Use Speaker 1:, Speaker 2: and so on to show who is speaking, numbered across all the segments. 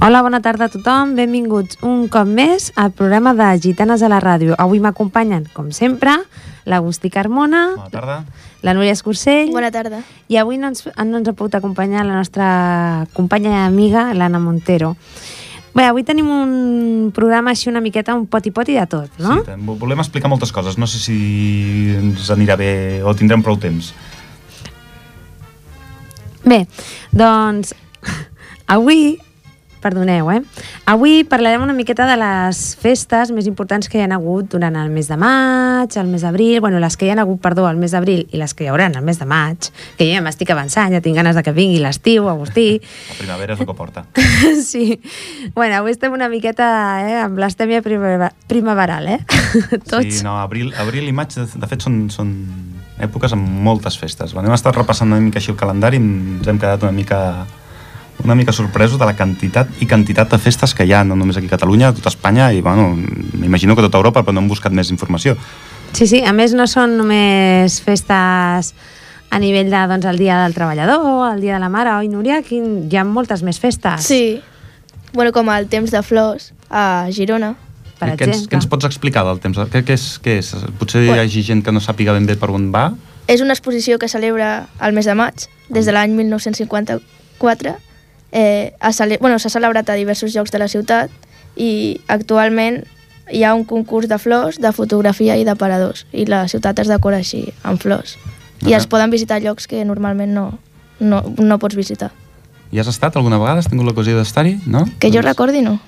Speaker 1: Hola, bona tarda a tothom. Benvinguts un cop més al programa de Gitanes a la Ràdio. Avui m'acompanyen, com sempre, l'Agustí Carmona,
Speaker 2: Bona tarda.
Speaker 1: la Núria Escursell
Speaker 3: Bona tarda.
Speaker 1: i avui no ens, no ens ha pogut acompanyar la nostra companya i amiga, l'Anna Montero. Bé, avui tenim un programa així una miqueta un poti-poti de tot, no?
Speaker 2: Sí, tant. Vo- volem explicar moltes coses. No sé si ens anirà bé o tindrem prou temps.
Speaker 1: Bé, doncs avui, perdoneu, eh? Avui parlarem una miqueta de les festes més importants que hi han hagut durant el mes de maig, el mes d'abril, bueno, les que hi han hagut, perdó, el mes d'abril i les que hi haurà el mes de maig, que jo ja m'estic avançant, ja tinc ganes de que vingui l'estiu, Agustí.
Speaker 2: La primavera és el que porta.
Speaker 1: Sí. Bueno, avui estem una miqueta eh, amb l'estèmia primavera- primaveral, eh? Tots.
Speaker 2: Sí, no, abril, abril i maig, de, de fet, són, són èpoques amb moltes festes. Bueno, hem estat repassant una mica així el calendari i ens hem quedat una mica una mica sorpresos de la quantitat i quantitat de festes que hi ha, no només aquí a Catalunya, a tota Espanya i, bueno, m'imagino que a tota Europa, però no hem buscat més informació.
Speaker 1: Sí, sí, a més no són només festes a nivell de, doncs, el Dia del Treballador, el Dia de la Mare, oi, Núria? Quin... Hi ha moltes més festes,
Speaker 3: Ah, Sí. Bueno, com el temps de flors a Girona.
Speaker 1: per
Speaker 2: què, ens, què
Speaker 1: exemple.
Speaker 2: ens pots explicar del temps? Què, què, és, què és? Potser hi hagi gent que no sàpiga ben bé per on va,
Speaker 3: És una exposició que celebra el mes de maig, des de l'any 1954. Eh, ha cele... bueno, S'ha celebrat a diversos llocs de la ciutat i actualment hi ha un concurs de flors, de fotografia i de paradors. I la ciutat es decora així, amb flors. I
Speaker 2: Ah.
Speaker 3: es poden visitar llocs que normalment no, no, no pots visitar.
Speaker 2: Hi has estat alguna vegada? Has tingut l'ocasió d'estar-hi? No?
Speaker 3: Que jo
Speaker 2: Doncs
Speaker 3: recordi, no.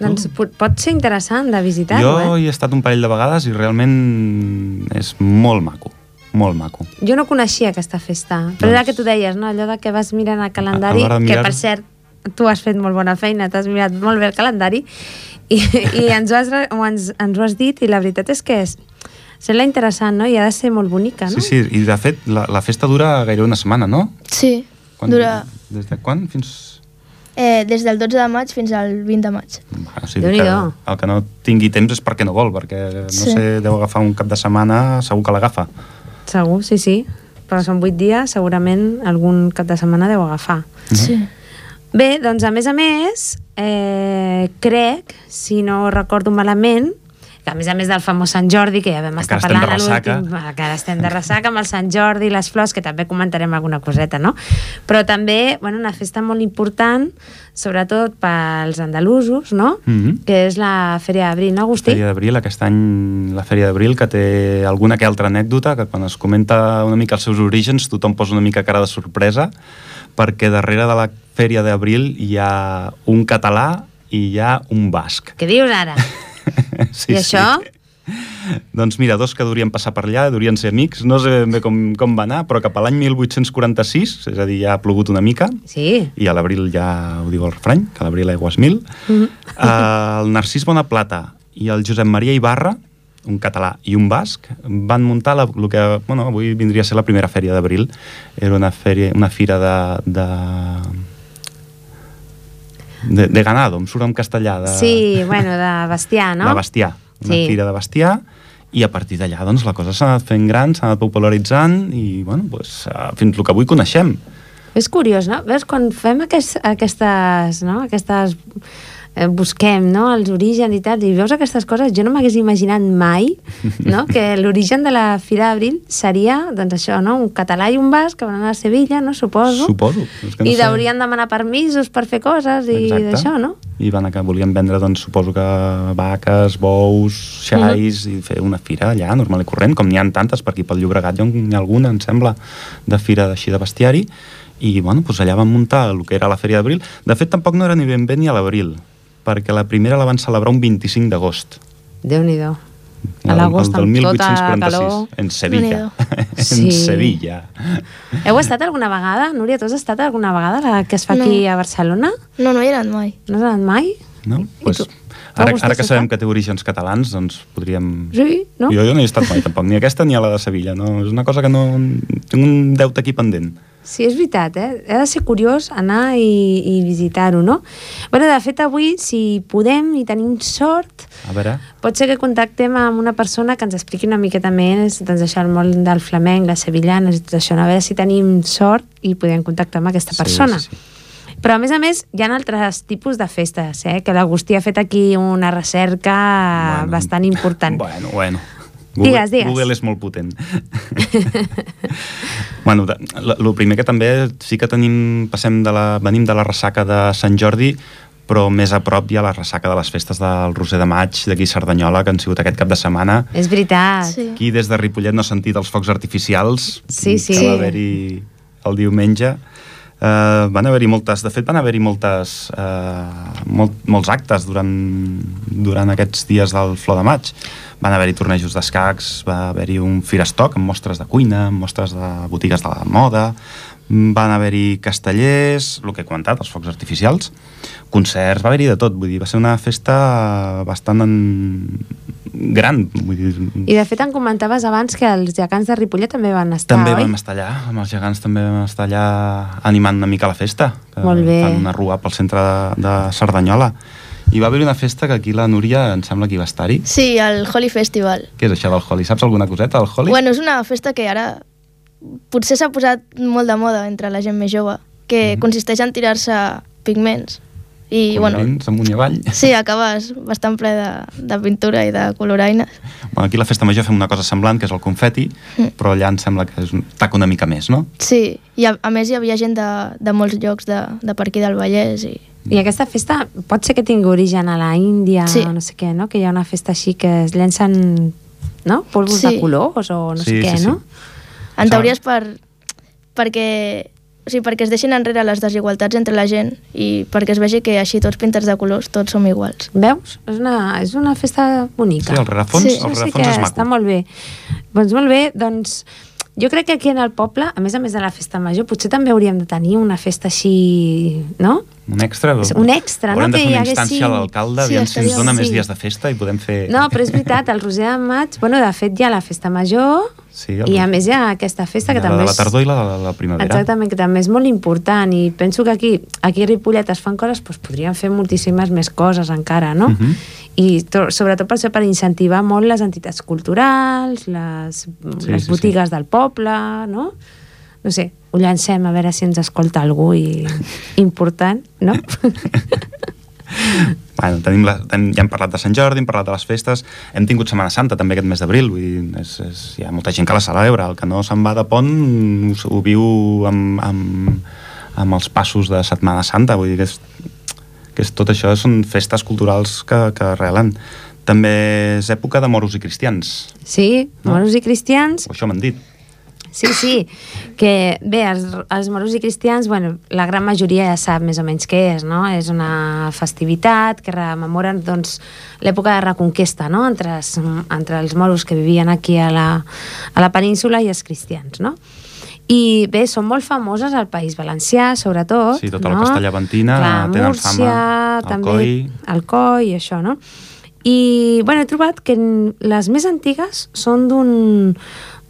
Speaker 1: Doncs pot, pot ser interessant de visitar
Speaker 2: Jo
Speaker 1: eh?
Speaker 2: hi he estat un parell de vegades i realment és molt maco, molt maco.
Speaker 1: Jo no coneixia aquesta festa, però
Speaker 2: Doncs-
Speaker 1: era que tu deies, no? Allò de que vas mirant el calendari,
Speaker 2: a l'hora de
Speaker 1: que
Speaker 2: mirar-
Speaker 1: per cert, tu has fet molt bona feina, t'has mirat molt bé el calendari, i, i ens, ho has, re- o ens, ens ho has dit, i la veritat és que és, sembla interessant, no? I ha de ser molt bonica, no?
Speaker 2: Sí, sí, i de fet la, la festa dura gairebé una setmana, no?
Speaker 3: Sí, dura
Speaker 2: Des de quan? Fins...
Speaker 3: eh, des del 12 de maig fins al 20 de maig.
Speaker 2: Va, o sigui que
Speaker 1: Déu-n'hi-do.
Speaker 2: el que no tingui temps és perquè no vol, perquè no
Speaker 3: Sí.
Speaker 2: sé, deu agafar un cap de setmana, segur que l'agafa.
Speaker 1: Segur, sí, sí. Però són vuit dies, segurament algun cap de setmana deu agafar.
Speaker 3: Sí.
Speaker 1: Bé, doncs a més a més, eh, crec, si no recordo malament, que a més a més del famós Sant Jordi, que ja vam estar
Speaker 2: Encara estem de
Speaker 1: parlant a l'últim,
Speaker 2: ressaca.
Speaker 1: va, que ara estem de ressaca amb el Sant Jordi i les flors, que també comentarem alguna coseta, no? Però també, bueno, una festa molt important, sobretot pels andalusos, no?
Speaker 2: Mhm.
Speaker 1: Que és la Fèria d'Abril, no, Agustí?
Speaker 2: Fèria d'Abril, aquest any la Fèria d'Abril, que té alguna que altra anècdota, que quan es comenta una mica els seus orígens tothom posa una mica cara de sorpresa, perquè darrere de la Fèria d'Abril hi ha un català i hi ha un basc.
Speaker 1: Què dius ara?
Speaker 2: Sí,
Speaker 1: I això?
Speaker 2: Doncs mira, dos que durien passar per allà, durien ser amics, no sé ben bé com, com va anar, però cap a l'any 1846, és a dir, ja ha plogut una mica,
Speaker 1: Sí.
Speaker 2: i a l'abril ja ho diu el refrany, que a l'abril aigües mil,
Speaker 1: Mm-hmm.
Speaker 2: eh, el Narcís Bonaplata i el Josep Maria Ibarra, un català i un basc, van muntar la, el que bueno, avui vindria a ser la primera fèria d'abril. Era una, fèria, una fira de, de, de, de ganado, em surt en castellà. De,
Speaker 1: Sí, bueno, de bestiar, no?
Speaker 2: de bestiar, una
Speaker 1: Sí.
Speaker 2: fira de bestiar, i a partir d'allà doncs, la cosa s'ha anat fent gran, s'ha anat popularitzant i bueno, doncs, eh, fins el que avui coneixem.
Speaker 1: És curiós, no? Veus, quan fem aquest, aquestes, no? aquestes eh, busquem no? els orígens i tal, i veus aquestes coses, jo no m'hagués imaginat mai no? que l'origen de la Fira d'Abril seria, doncs això, no? un català i un basc que van anar a Sevilla, no? suposo,
Speaker 2: Suposo. És que no
Speaker 1: i
Speaker 2: sé.
Speaker 1: deurien demanar permisos per fer coses i
Speaker 2: Exacte.
Speaker 1: d'això, no?
Speaker 2: I van acabar, volien vendre, doncs, suposo que vaques, bous, xais, i fer una fira allà, normal i corrent, com n'hi ha tantes, per aquí pel Llobregat hi ha un- n'hi ha alguna, em sembla, de fira d'així de bestiari, i, bueno, doncs allà van muntar el que era la Fèria d'Abril. De fet, tampoc no era ni ben bé ni a l'abril, perquè la primera la van celebrar un 25 d'agost.
Speaker 1: Déu-n'hi-do. A
Speaker 2: el-
Speaker 1: l'agost,
Speaker 2: el del
Speaker 1: amb tota
Speaker 2: 1846,
Speaker 1: calor.
Speaker 2: En Sevilla. en
Speaker 1: Sí.
Speaker 2: Sevilla.
Speaker 1: Heu estat alguna vegada, Núria, tu has estat alguna vegada a la que es fa
Speaker 3: No.
Speaker 1: aquí a Barcelona?
Speaker 3: No, no hi he anat mai.
Speaker 1: No has anat mai?
Speaker 2: No?
Speaker 1: I
Speaker 2: Pues,
Speaker 1: tu?
Speaker 2: ara,
Speaker 1: August,
Speaker 2: ara
Speaker 1: has
Speaker 2: que
Speaker 1: estat?
Speaker 2: sabem que té orígens catalans, doncs podríem...
Speaker 1: Sí, no?
Speaker 2: Jo, jo no hi he estat mai tampoc, ni aquesta ni a la de Sevilla. No? És una cosa que no... Tinc un deute aquí pendent.
Speaker 1: Sí, és veritat, eh? Ha de ser curiós anar i, i visitar-ho, no? Bueno, de fet, avui, si podem i tenim sort,
Speaker 2: A veure...
Speaker 1: pot ser que contactem amb una persona que ens expliqui una miqueta més, doncs això, el món del flamenc, les sevillanes i tot això, no? a veure si tenim sort i podem contactar amb aquesta
Speaker 2: Sí,
Speaker 1: persona.
Speaker 2: sí, sí.
Speaker 1: Però, a més a més, hi ha altres tipus de festes, eh? que l'Agustí ha fet aquí una recerca bueno. bastant important.
Speaker 2: Bueno, bueno.
Speaker 1: Google, Digues, digues.
Speaker 2: Google és molt potent. bueno, el primer que també sí que tenim, passem de la, venim de la ressaca de Sant Jordi, però més a prop hi ha la ressaca de les festes del Roser de Maig d'aquí a Cerdanyola, que han sigut aquest cap de setmana.
Speaker 1: És veritat.
Speaker 3: Sí.
Speaker 2: Aquí des de Ripollet no ha sentit els focs artificials
Speaker 1: Sí, sí.
Speaker 2: que va haver-hi el diumenge. Uh, van haver-hi moltes, de fet van haver-hi moltes uh, molt, molts actes durant, durant aquests dies del Flor de Maig van haver-hi tornejos d'escacs va haver-hi un firestoc amb mostres de cuina amb mostres de botigues de la moda mm, van haver-hi castellers el que he comentat, els focs artificials concerts, va haver-hi de tot vull dir, va ser una festa bastant en... gran vull dir,
Speaker 1: I, de fet, em comentaves abans que els gegants de Ripollet també van estar,
Speaker 2: també
Speaker 1: oi?
Speaker 2: vam estar allà, amb els gegants també vam estar allà animant una mica la festa. Que
Speaker 1: Molt bé.
Speaker 2: Fan una rua pel centre de, de Cerdanyola. I va haver una festa que aquí la Núria em sembla que hi va estar-hi.
Speaker 3: Sí, el Holi Festival.
Speaker 2: Què és això del Holi? Saps alguna coseta del Holi?
Speaker 3: Bueno, és una festa que ara potser s'ha posat molt de moda entre la gent més jove, que consisteix en tirar-se pigments. I,
Speaker 2: Com
Speaker 3: bueno,
Speaker 2: vins, amunt i avall.
Speaker 3: sí, acabes bastant ple de, de pintura i de coloraines.
Speaker 2: Bueno, aquí a la festa major fem una cosa semblant, que és el confeti,
Speaker 3: Mm.
Speaker 2: però allà em sembla que és un tac una mica més, no?
Speaker 3: Sí, i a, a més hi havia gent de, de molts llocs de, de per aquí del Vallès i...
Speaker 1: I aquesta festa pot ser que tingui origen a la Índia,
Speaker 3: Sí.
Speaker 1: no sé què, no? Que hi ha una festa així que es llencen no? polvos
Speaker 3: Sí.
Speaker 1: de colors o no
Speaker 2: Sí,
Speaker 1: sé què,
Speaker 2: sí, sí.
Speaker 1: no?
Speaker 3: En
Speaker 2: Saben-
Speaker 3: teoria és per, perquè, o sigui, perquè es deixin enrere les desigualtats entre la gent i perquè es vegi que així tots pintats de colors, tots som iguals.
Speaker 1: Veus? És una, és una festa bonica.
Speaker 2: Sí, el rerefons-
Speaker 3: Sí. el
Speaker 2: rerefons
Speaker 1: que
Speaker 2: és maco.
Speaker 1: Està molt bé. Doncs molt bé, doncs jo crec que aquí en el poble, a més a més de la festa major, potser també hauríem de tenir una festa així, no?
Speaker 2: Un extra?
Speaker 1: Un extra,
Speaker 2: Haurem
Speaker 1: no?
Speaker 2: de
Speaker 1: Que
Speaker 2: fer una
Speaker 1: hi haguessin-
Speaker 2: instància a l'alcalde,
Speaker 3: Sí,
Speaker 2: aviam si ens
Speaker 3: estaria
Speaker 2: dona
Speaker 3: bé.
Speaker 2: més
Speaker 1: Sí.
Speaker 2: dies de festa i podem fer...
Speaker 1: No, però és veritat, el Roser de Maig, bueno, de fet hi ha la festa major
Speaker 2: Sí, el-
Speaker 1: i a més hi ha aquesta festa que
Speaker 2: la
Speaker 1: també
Speaker 2: de la
Speaker 1: és...
Speaker 2: tardor i la de la primavera.
Speaker 1: Exactament, que també és molt important i penso que aquí, aquí a Ripollet es fan coses, doncs podríem fer moltíssimes més coses encara, no?
Speaker 2: Mhm.
Speaker 1: I to, sobretot per això, per incentivar molt les entitats culturals, les,
Speaker 2: Sí,
Speaker 1: sí, les
Speaker 2: sí,
Speaker 1: sí, botigues sí. del poble, no? No sé, ho llancem a veure si ens escolta algú i important, no?
Speaker 2: Bueno, tenim la, ten, ja hem parlat de Sant Jordi, hem parlat de les festes, hem tingut Setmana Santa també aquest mes d'abril, vull dir, és, és, hi ha molta gent que la celebra, el que no se'n va de pont ho, s- ho viu amb, amb, amb els passos de Setmana Santa, vull dir que, és, que és, tot això són festes culturals que, que arrelen. També és època de moros i cristians,
Speaker 1: Sí,
Speaker 2: No.
Speaker 1: moros i cristians,
Speaker 2: o això m'han dit.
Speaker 1: Sí, sí, que bé, els, els moros i cristians, bueno, la gran majoria ja sap més o menys què és, no? És una festivitat que rememoren doncs, l'època de reconquesta, no? Entre, els, entre els moros que vivien aquí a la, a la península i els cristians, no? I bé, són molt famoses al País Valencià, sobretot.
Speaker 2: Sí, tota la
Speaker 1: no?
Speaker 2: Castella Ventina,
Speaker 1: Clar,
Speaker 2: tenen
Speaker 1: Múrcia,
Speaker 2: fama,
Speaker 1: també
Speaker 2: Alcoi.
Speaker 1: Alcoi i això, no? I, bueno, he trobat que n- les més antigues són d'un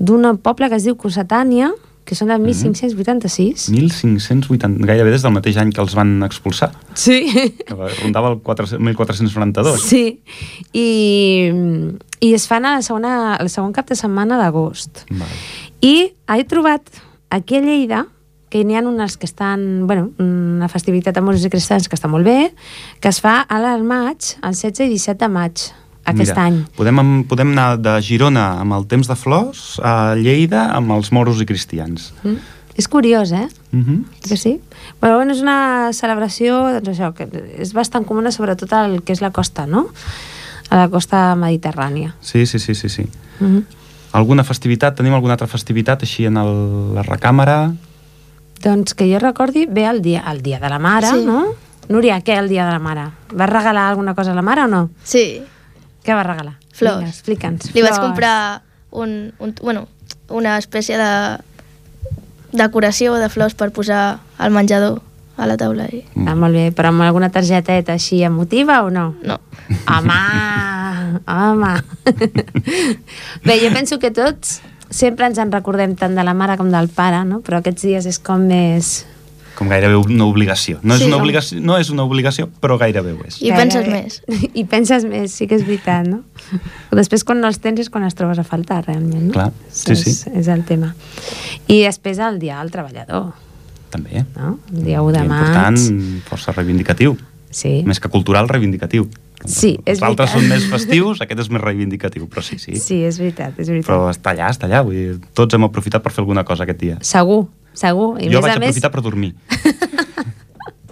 Speaker 1: d'un poble que es diu Cossetània, que són del 1586.
Speaker 2: 1580, gairebé des del mateix any que els van expulsar,
Speaker 1: Sí.
Speaker 2: que rondava el 400, 1492.
Speaker 1: Sí. I, i es fan a la segona, el segon cap de setmana d'agost.
Speaker 2: Vale.
Speaker 1: I he trobat aquí a Lleida que n'hi ha unes que estan... bueno, una festivitat amb moros i cristians que està molt bé, que es fa a l'al maig, el 16 i 17 de maig, aquest
Speaker 2: Mira,
Speaker 1: any.
Speaker 2: Podem, am- podem anar de Girona amb el temps de flors a Lleida amb els moros i cristians.
Speaker 1: Mm? És curiós, eh?
Speaker 2: Mm -hmm.
Speaker 1: Que sí? Però bueno, és una celebració, doncs això, que és bastant comuna sobretot al que és la costa, no? A la costa mediterrània.
Speaker 2: Sí, sí, sí, sí, sí.
Speaker 1: Mm
Speaker 3: Mhm.
Speaker 1: -hmm.
Speaker 2: Alguna festivitat? Tenim alguna altra festivitat així en el, la recàmera?
Speaker 1: Doncs que jo recordi bé el dia, el dia de la mare,
Speaker 3: Sí.
Speaker 1: no? Núria, què el dia de la mare? Vas regalar alguna cosa a la mare o no?
Speaker 3: Sí,
Speaker 1: Què vas regalar?
Speaker 3: Flors.
Speaker 1: Vinga, Explica'ns.
Speaker 3: Li vaig
Speaker 1: Flors.
Speaker 3: comprar un, un, bueno, una espècie de decoració de flors per posar al menjador a la taula. I...
Speaker 1: Ah, molt bé, però amb alguna targeteta així emotiva o no?
Speaker 3: No.
Speaker 1: Home, home. Bé, jo penso que tots sempre ens en recordem tant de la mare com del pare, no? Però aquests dies és com més...
Speaker 2: Com gairebé una obligació. No, és
Speaker 3: Sí,
Speaker 2: una
Speaker 3: no.
Speaker 2: obligació. no és una obligació, però gairebé ho és.
Speaker 3: I penses més.
Speaker 1: I penses més, sí que és veritat, no? Però després quan no els tens és quan els trobes a faltar, realment, no?
Speaker 2: Clar, sí,
Speaker 1: és,
Speaker 2: sí.
Speaker 1: És el tema. I després el dia del treballador.
Speaker 2: també.
Speaker 1: no? El dia 1 de
Speaker 2: Dia
Speaker 1: maig.
Speaker 2: Important, força reivindicatiu.
Speaker 1: Sí.
Speaker 2: Més que cultural, reivindicatiu.
Speaker 1: Sí, és
Speaker 2: Els
Speaker 1: veritat.
Speaker 2: altres són més festius, aquest és més reivindicatiu, però sí, sí.
Speaker 1: Sí, és veritat, és veritat.
Speaker 2: Però està allà, està allà. Vull dir, tots hem aprofitat per fer alguna cosa aquest dia.
Speaker 1: Segur, segur. I
Speaker 2: jo
Speaker 1: més
Speaker 2: vaig
Speaker 1: a més,
Speaker 2: aprofitar per dormir.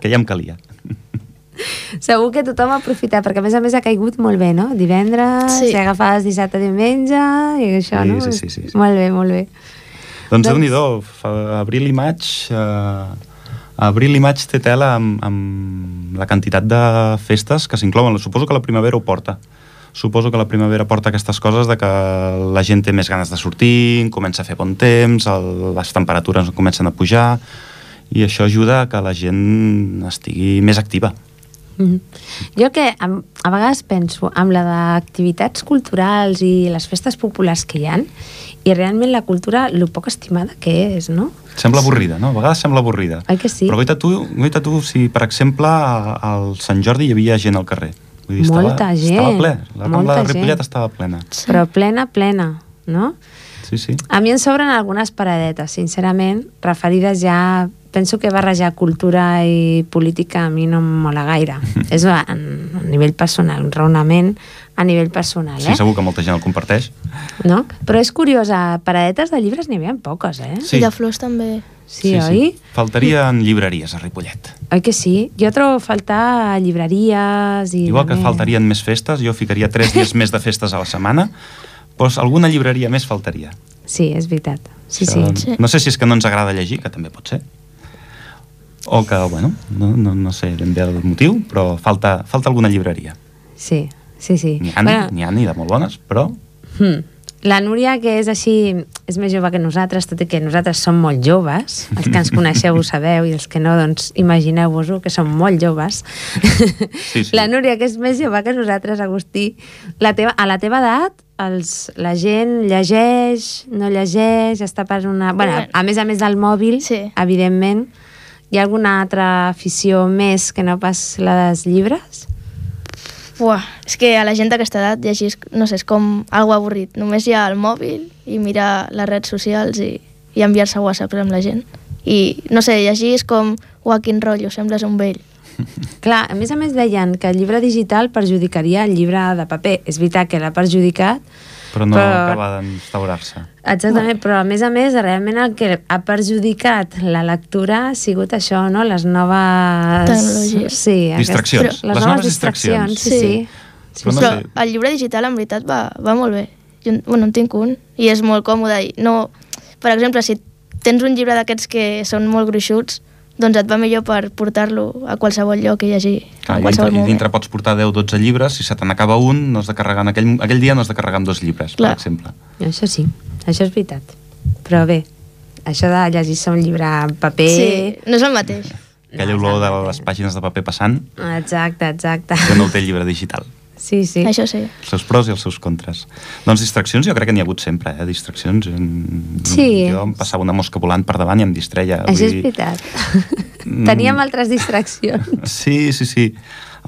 Speaker 2: que ja em calia.
Speaker 1: Segur que tothom ha aprofitat, perquè a més a més ha caigut molt bé, no? Divendres,
Speaker 3: Sí.
Speaker 1: sí. agafades dissabte, diumenge, i això,
Speaker 2: Sí,
Speaker 1: no?
Speaker 2: sí, sí, sí, sí.
Speaker 1: Molt bé, molt bé.
Speaker 2: Doncs,
Speaker 1: Doncs-
Speaker 2: doncs... déu nhi abril i maig... Eh, abril i maig té tela amb, amb la quantitat de festes que s'inclouen. Suposo que la primavera ho porta. Suposo que la primavera porta aquestes coses de que la gent té més ganes de sortir, comença a fer bon temps, el, les temperatures comencen a pujar, i això ajuda a que la gent estigui més activa.
Speaker 1: Mhm. Jo que a, a vegades penso amb la d'activitats culturals i les festes populars que hi han i realment la cultura, lo poc estimada que és, no?
Speaker 2: Sembla avorrida, no? A vegades sembla avorrida.
Speaker 1: Oi que sí?
Speaker 2: Però guaita tu, guaita tu si, per exemple, a- al Sant Jordi hi havia gent al carrer. Vull dir, estava,
Speaker 1: Molta
Speaker 2: Estava
Speaker 1: gent,
Speaker 2: ple. La
Speaker 1: molta
Speaker 2: Rambla de Ripollet
Speaker 1: gent.
Speaker 2: estava plena.
Speaker 1: Però plena, plena, no?
Speaker 2: Sí, sí.
Speaker 1: A mi em sobren algunes paradetes, sincerament, referides ja... Penso que barrejar cultura i política a mi no em mola gaire. És a, a nivell personal, un raonament a nivell personal,
Speaker 2: Sí,
Speaker 1: eh?
Speaker 2: segur que molta gent el comparteix.
Speaker 1: no? Però és curiosa, paradetes de llibres n'hi havia poques, eh?
Speaker 2: Sí.
Speaker 3: I de flors també.
Speaker 1: Sí, oi?
Speaker 2: Faltarien llibreries a Ripollet.
Speaker 1: Oi que sí? Jo trobo a faltar llibreries i...
Speaker 2: Igual que
Speaker 1: també-
Speaker 2: faltarien més festes, jo ficaria tres dies més de festes a la setmana, doncs alguna llibreria més faltaria.
Speaker 1: Sí, és veritat. Sí, sí.
Speaker 2: Això,
Speaker 3: Sí.
Speaker 2: No sé si és que no ens agrada llegir, que també pot ser, o que, bueno, no, no, no sé ben bé el motiu, però falta, falta alguna llibreria.
Speaker 1: Sí, sí, sí.
Speaker 2: N'hi ha,
Speaker 1: Bueno,
Speaker 2: n'hi ha ni de molt bones, però...
Speaker 1: Hmm. La Núria, que és així, és més jove que nosaltres, tot i que nosaltres som molt joves, els que ens coneixeu ho sabeu i els que no, doncs imagineu-vos-ho, que som molt joves.
Speaker 2: Sí, sí.
Speaker 1: La Núria, que és més jove que nosaltres, Agustí, la teva, a la teva edat els, la gent llegeix, no llegeix, està per una... Bueno,
Speaker 3: Bueno.
Speaker 1: a més a més del mòbil,
Speaker 3: Sí.
Speaker 1: evidentment, hi ha alguna altra afició més que no pas la dels llibres?
Speaker 3: Buah, és que a la gent d'aquesta edat llegir, és- no sé, és com algo avorrit. Només hi ha el mòbil i mirar les redes socials i, i enviar-se whatsapps amb la gent. I, no sé, llegir és com, uah, quin rotllo, sembles un vell.
Speaker 1: Clar, a més a més deien que el llibre digital perjudicaria el llibre de paper. És veritat que l'ha perjudicat,
Speaker 2: però no
Speaker 1: Però-
Speaker 2: acaba d'instaurar-se.
Speaker 1: exactament, però a més a més realment el que ha perjudicat la lectura ha sigut això, no? Les noves...
Speaker 3: Tecnologies.
Speaker 1: Sí, aquestes-
Speaker 2: Distraccions.
Speaker 1: Les, noves distraccions, sí, sí. sí.
Speaker 2: Però no
Speaker 3: Però
Speaker 2: sé.
Speaker 3: el llibre digital, en veritat, va, va molt bé. Jo, bueno, en tinc un i és molt còmode. I no, per exemple, si tens un llibre d'aquests que són molt gruixuts, doncs et va millor per portar-lo a qualsevol lloc i llegir.
Speaker 2: Clar, Ah, i dintre,
Speaker 3: a qualsevol
Speaker 2: i
Speaker 3: moment.
Speaker 2: dintre pots portar 10-12 llibres, si se te n'acaba un, no has de carregar en aquell, aquell dia no has de carregar amb dos llibres, Clar.
Speaker 3: Clar.
Speaker 2: per exemple.
Speaker 1: Això sí, això és veritat. Però bé, això de llegir-se un llibre en paper...
Speaker 3: Sí, no és el mateix.
Speaker 2: Aquella
Speaker 1: No,
Speaker 2: olor de
Speaker 1: exacte.
Speaker 2: les pàgines de paper passant,
Speaker 1: Exacte, exacte.
Speaker 2: que no ho té el llibre digital.
Speaker 1: Sí, sí.
Speaker 3: Això sí.
Speaker 2: Els seus pros i els seus contres. Doncs distraccions jo crec que n'hi ha hagut sempre, eh? Distraccions. mm,
Speaker 1: Sí.
Speaker 2: Jo em passava una mosca volant per davant i em distreia. vull
Speaker 1: Això és
Speaker 2: dir-
Speaker 1: veritat.
Speaker 2: Mm.
Speaker 1: Teníem altres distraccions.
Speaker 2: Sí, sí, sí.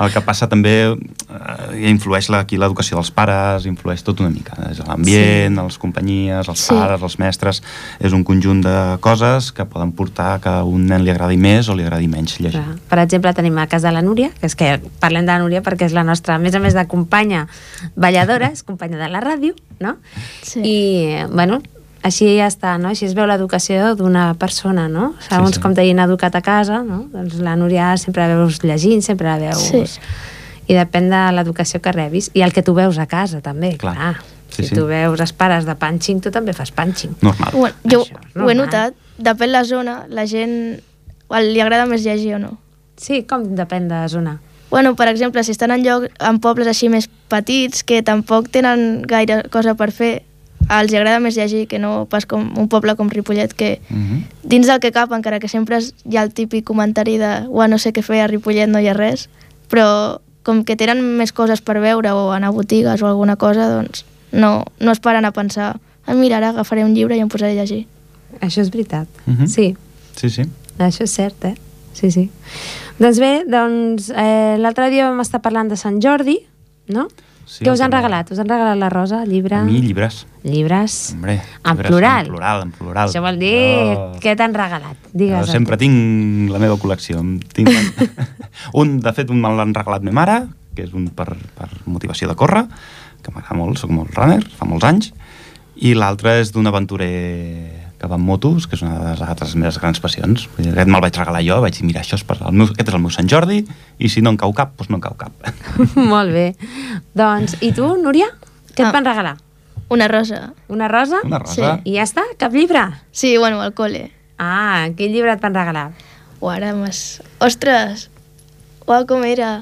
Speaker 2: El que passa també eh, influeix la- aquí l'educació dels pares, influeix tot una mica. És l'ambient, sí. les companyies, els
Speaker 3: Sí.
Speaker 2: sí. pares, els mestres... És un conjunt de coses que poden portar que a un nen li agradi més o li agradi menys llegir.
Speaker 1: Clar. Per exemple, tenim el cas de la Núria, que és que parlem de la Núria perquè és la nostra, a més a més de companya balladora, és companya de la ràdio, no?
Speaker 3: Sí.
Speaker 1: I, bueno, així ja està, no? Així es veu l'educació d'una persona, no? Segons sí,
Speaker 2: sí.
Speaker 1: sí. com t'hagin educat a casa, no? Doncs la Núria sempre la veus llegint, sempre la veus...
Speaker 3: Sí.
Speaker 1: I depèn de l'educació que rebis i el que tu veus a casa, també,
Speaker 2: Clar.
Speaker 1: clar.
Speaker 2: Sí,
Speaker 1: si
Speaker 2: sí.
Speaker 1: tu veus els pares de punching, tu també fas punching.
Speaker 2: Normal.
Speaker 3: Bueno, jo
Speaker 1: Això és
Speaker 3: ho he
Speaker 1: normal.
Speaker 3: notat, depèn la zona, la gent el- li agrada més llegir o no.
Speaker 1: Sí, com depèn de la zona.
Speaker 3: Bueno, per exemple, si estan en, lloc, en pobles així més petits, que tampoc tenen gaire cosa per fer, els agrada més llegir que no pas com un poble com Ripollet, que
Speaker 2: Mhm.
Speaker 3: dins del que cap, encara que sempre es- hi ha el típic comentari de «Ua, no sé què fer, a Ripollet no hi ha res», però com que tenen més coses per veure o anar a botigues o alguna cosa, doncs no, no es paren a pensar «Ah, mira, ara agafaré un llibre i em posaré a llegir».
Speaker 1: Això és veritat.
Speaker 2: Mhm.
Speaker 1: Sí,
Speaker 2: Sí, sí.
Speaker 1: Això és cert, eh? Sí, sí. Doncs bé, doncs eh, l'altre dia vam estar parlant de Sant Jordi, no?
Speaker 2: Sí,
Speaker 1: Què us han
Speaker 2: però-
Speaker 1: regalat? Us han regalat la Rosa, llibre?
Speaker 2: A mi, llibres.
Speaker 1: Llibres?
Speaker 2: Hombre,
Speaker 1: En
Speaker 2: llibres
Speaker 1: plural.
Speaker 2: En plural, en plural.
Speaker 1: Això vol dir
Speaker 2: Jo-
Speaker 1: què t'han regalat.
Speaker 2: jo
Speaker 1: Digues.
Speaker 2: Eh, sempre tinc la meva col·lecció. em Tinc... un, de fet, un me l'han regalat ma mare, que és un per, per motivació de córrer, que m'agrada molt, sóc molt runner, fa molts anys, i l'altre és d'un aventurer que va amb motos, que és una de les altres meves grans passions. Vull dir, Aquest me'l vaig regalar jo, vaig dir, mira, això és per el meu, aquest és el meu Sant Jordi, i si no en cau cap, doncs no en cau cap.
Speaker 1: Molt bé. Doncs, i tu, Núria? Què
Speaker 3: Ah.
Speaker 1: et van regalar?
Speaker 3: Una rosa.
Speaker 1: Una rosa?
Speaker 2: Una rosa.
Speaker 1: I ja està? Cap llibre?
Speaker 3: Sí, bueno, al col·le.
Speaker 1: Ah, quin llibre et van regalar?
Speaker 3: O ara m'has... Ostres! Uau, com era?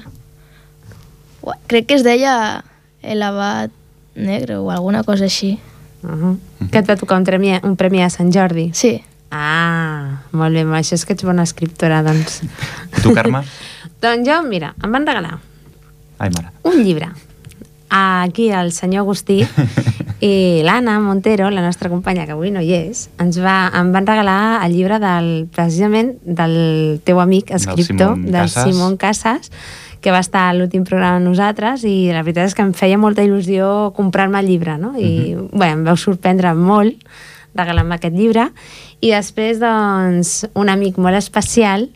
Speaker 3: Uau, crec que es deia el abat negre o alguna cosa així.
Speaker 1: Uh -huh. Que et va tocar un premi, un premi a Sant Jordi.
Speaker 3: Sí.
Speaker 1: Ah, molt bé, amb això és que ets bona escriptora, doncs.
Speaker 2: I tu, Carme?
Speaker 1: doncs jo, mira, em van regalar
Speaker 2: Ai, mare.
Speaker 1: un llibre. Aquí el senyor Agustí i l'Anna Montero, la nostra companya que avui no hi és, ens va, em van regalar el llibre del, precisament del teu amic
Speaker 2: Del
Speaker 1: escriptor,
Speaker 2: Simón
Speaker 1: del
Speaker 2: Casas.
Speaker 1: Simón Casas, que va estar a l'últim programa amb nosaltres i la veritat és que em feia molta il·lusió comprar-me el llibre, no? I,
Speaker 2: Mhm.
Speaker 1: bueno, em vau sorprendre molt regalant-me aquest llibre i després, doncs, un amic molt especial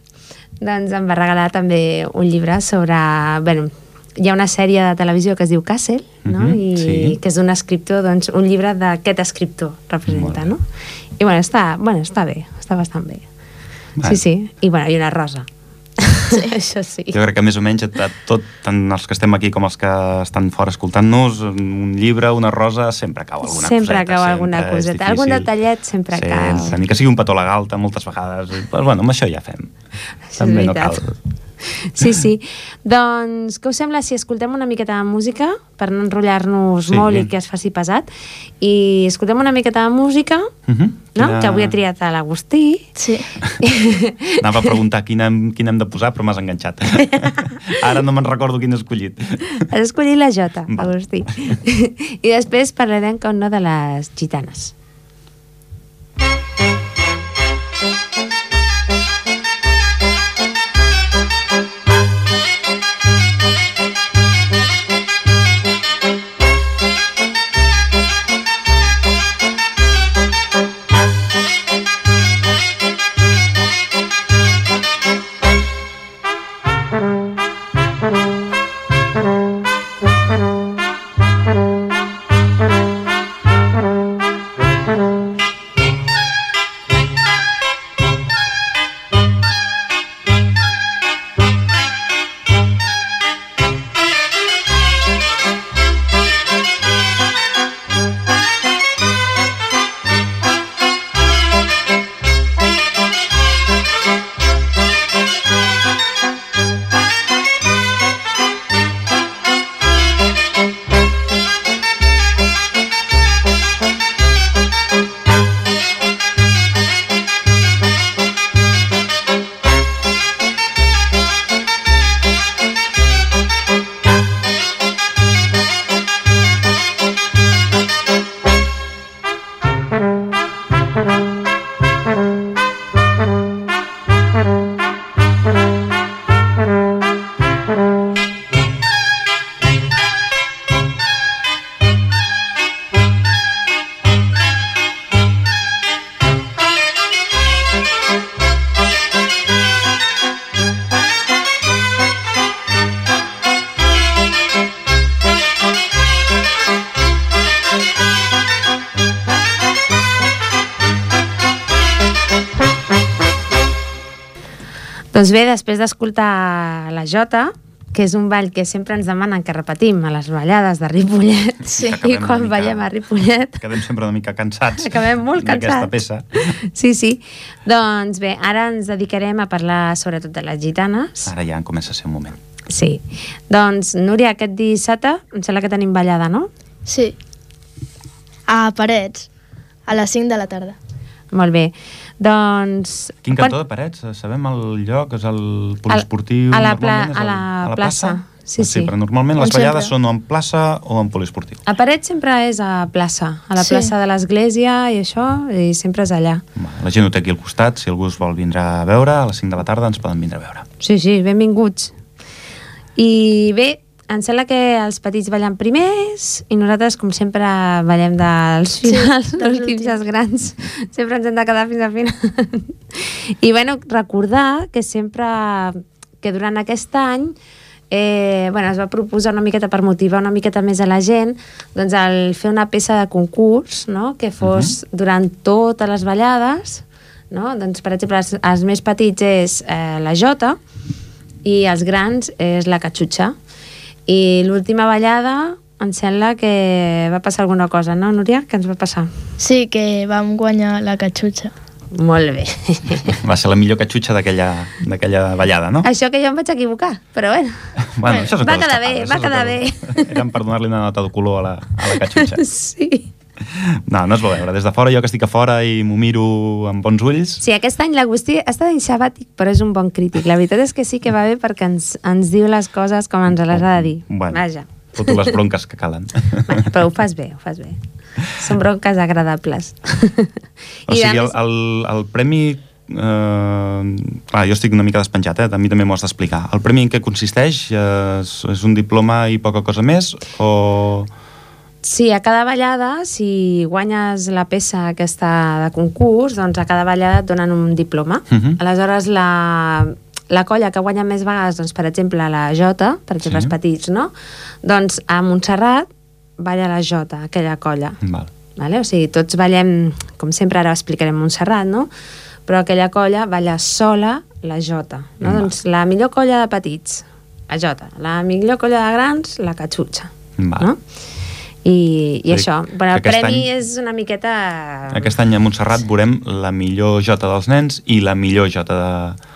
Speaker 1: doncs em va regalar també un llibre sobre... Bueno, hi ha una sèrie de televisió que es diu Castle, no?
Speaker 2: Mhm,
Speaker 1: I
Speaker 2: sí.
Speaker 1: que és d'un escriptor, doncs, un llibre d'aquest escriptor representa,
Speaker 2: Molt bé.
Speaker 1: no? I bueno, està, bueno, està bé, està bastant bé.
Speaker 2: Bueno.
Speaker 1: Sí, sí. I bueno, i una rosa. Això sí.
Speaker 2: Jo crec que més o menys a tot, tant els que estem aquí com els que estan fora escoltant-nos, un llibre, una rosa, sempre cau alguna
Speaker 1: Sempre
Speaker 2: coseta.
Speaker 1: cau alguna
Speaker 2: sempre és
Speaker 1: coseta.
Speaker 2: difícil.
Speaker 1: Algun detallet sempre
Speaker 2: sí,
Speaker 1: cau.
Speaker 2: Sí, ni que sigui un petó a la galta moltes vegades. Però bueno, amb això ja fem.
Speaker 1: és
Speaker 2: També no
Speaker 1: veritat.
Speaker 2: cal.
Speaker 1: Sí, sí. Doncs què us sembla si escoltem una miqueta de música per no enrotllar-nos
Speaker 2: Sí.
Speaker 1: molt i que es faci pesat? I escoltem una miqueta de música,
Speaker 2: Uh -huh.
Speaker 1: no? Que avui ha triat a l'Agustí.
Speaker 3: Sí.
Speaker 2: Anava a preguntar quina, hem- quina hem de posar, però m'has enganxat. Ara no me'n recordo quin he escollit.
Speaker 1: Has escollit la Jota,
Speaker 2: Va.
Speaker 1: Agustí. I després parlarem, com no, de les gitanes. Doncs bé, després d'escoltar la Jota, que és un ball que sempre ens demanen que repetim a les ballades de Ripollet,
Speaker 3: Sí.
Speaker 1: i
Speaker 2: Acabem una
Speaker 1: quan
Speaker 2: mica-
Speaker 1: ballem a Ripollet,
Speaker 2: Quedem sempre una mica cansats
Speaker 1: Acabem molt
Speaker 2: d'aquesta
Speaker 1: cansats.
Speaker 2: peça.
Speaker 1: Sí, sí. Doncs bé, ara ens dedicarem a parlar sobretot de les gitanes.
Speaker 2: Ara ja comença a ser un moment.
Speaker 1: Sí. Doncs, Núria, aquest dissabte em sembla que tenim ballada, no?
Speaker 3: Sí. A Parets, a les 5 de la tarda.
Speaker 1: Molt bé. Doncs...
Speaker 2: Quin
Speaker 1: quan-
Speaker 2: cantó de Parets? Sabem el lloc? És el poliesportiu?
Speaker 1: a la
Speaker 2: normalment
Speaker 1: pla-
Speaker 2: és
Speaker 1: a
Speaker 2: el-
Speaker 1: la plaça. Sí,
Speaker 2: Ah,
Speaker 1: sí.
Speaker 2: Però normalment
Speaker 3: Com
Speaker 2: les ballades
Speaker 3: sempre.
Speaker 2: són o en plaça o en poliesportiu.
Speaker 1: A Parets sempre és a plaça, a la
Speaker 3: Sí.
Speaker 1: plaça de l'església i això, i sempre és allà.
Speaker 2: Va, La gent ho té aquí al costat, si algú es vol vindre a veure, a les 5 de la tarda ens poden vindre a veure.
Speaker 1: Sí, sí, benvinguts. I bé, em sembla que els petits ballen primers i nosaltres, com sempre, ballem dels finals, sí, dels últims als grans. Sempre ens hem de quedar fins al final. I, bueno, recordar que sempre, que durant aquest any, eh, bueno, es va proposar una miqueta per motivar una miqueta més a la gent doncs el fer una peça de concurs no? que fos uh -huh. durant totes les ballades no? doncs, per exemple, els, els més petits és eh, la jota i els grans és la catxutxa i l'última ballada em sembla que va passar alguna cosa, no, Núria? Què ens va passar?
Speaker 3: Sí, que vam guanyar la catxutxa.
Speaker 1: Molt bé.
Speaker 2: Va ser la millor catxutxa d'aquella d'aquella ballada, no?
Speaker 1: Això que jo em vaig equivocar, però bueno.
Speaker 2: Bueno, això són
Speaker 1: Va
Speaker 2: coses
Speaker 1: quedar
Speaker 2: que-
Speaker 1: bé,
Speaker 2: això
Speaker 1: va
Speaker 2: és el
Speaker 1: quedar
Speaker 2: que- Eren per donar-li una nota de color a la, a la catxutxa.
Speaker 1: Sí.
Speaker 2: No, no es va veure. Des de fora, jo que estic a fora i m'ho miro amb bons ulls,
Speaker 1: Sí, aquest any l'Agustí està en sabàtic, però és un bon crític. La veritat és que sí que va bé perquè ens, ens diu les coses com ens les ha de dir.
Speaker 2: Bueno.
Speaker 1: Vaja.
Speaker 2: foto les bronques que calen.
Speaker 1: Vaja, però ho fas bé, ho fas bé. Són bronques agradables.
Speaker 2: O sigui, el,
Speaker 1: més-
Speaker 2: el, el premi... Eh, clar, jo estic una mica despenjat, eh? a mi també m'ho has d'explicar. El premi en què consisteix? Eh, és, és un diploma i poca cosa més? O...
Speaker 1: Sí, a cada ballada, si guanyes la peça aquesta de concurs, doncs a cada ballada et donen un diploma.
Speaker 2: Mhm.
Speaker 1: Aleshores, la, la colla que guanya més vegades, doncs, per exemple, la Jota, per exemple,
Speaker 2: Sí.
Speaker 1: els petits, no? Doncs a Montserrat balla la Jota, aquella colla.
Speaker 2: Val.
Speaker 1: Vale? O sigui, tots ballem, com sempre ara ho explicarem Montserrat, no? Però aquella colla balla sola la jota. No?
Speaker 2: Va.
Speaker 1: Doncs la millor colla de petits, la jota. La millor colla de grans, la catxutxa.
Speaker 2: Va.
Speaker 1: No? I, i
Speaker 2: Vull dir
Speaker 1: això.
Speaker 2: que
Speaker 1: Bueno, el
Speaker 2: aquest
Speaker 1: premi
Speaker 2: any-
Speaker 1: és una miqueta...
Speaker 2: Aquest any a Montserrat veurem la millor jota dels nens i la millor jota de...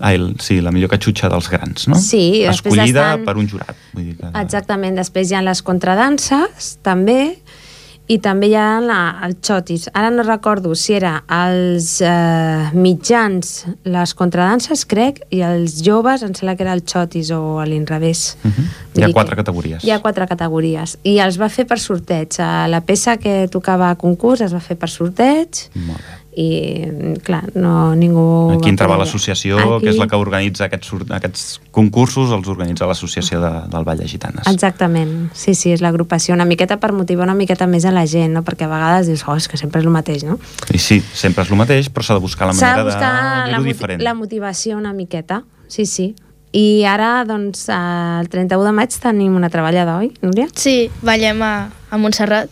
Speaker 2: Ai, el- sí, la millor catxutxa dels grans, no?
Speaker 1: Sí, i després
Speaker 2: Escollida
Speaker 1: estan-
Speaker 2: per un jurat. Vull dir que...
Speaker 1: Exactament, després hi ha les contradanses, també, i també hi ha la, els xotis. Ara no recordo si era els eh, mitjans, les contradanses, crec, i els joves, em sembla que era el xotis o a l'inrevés.
Speaker 2: Mhm.
Speaker 1: Vull
Speaker 2: Hi ha
Speaker 1: dir
Speaker 2: quatre
Speaker 1: que-
Speaker 2: categories.
Speaker 1: Hi ha quatre categories. I els va fer per sorteig. Eh, La peça que tocava a concurs es va fer per sorteig
Speaker 2: Molt bé.
Speaker 1: i, mm, clar, no, ningú... va
Speaker 2: Aquí entrava
Speaker 1: poder-
Speaker 2: l'associació, que és la que organitza aquests, sor- aquests concursos, els organitza l'associació de, del Vall de Gitanes.
Speaker 1: Exactament, sí, sí, és l'agrupació, una miqueta per motivar una miqueta més a la gent, no? perquè a vegades dius, oh, és que sempre és el mateix, no?
Speaker 2: I sí, sempre és el mateix, però s'ha de buscar la
Speaker 1: S'ha de
Speaker 2: manera
Speaker 1: buscar
Speaker 2: de
Speaker 1: la,
Speaker 2: dir-ho
Speaker 1: moti-
Speaker 2: diferent. Mhm.
Speaker 1: la motivació una miqueta, sí, sí. I ara, doncs, eh, el 31 de maig tenim una treballada, oi, Núria?
Speaker 3: Sí, ballem a, a Montserrat,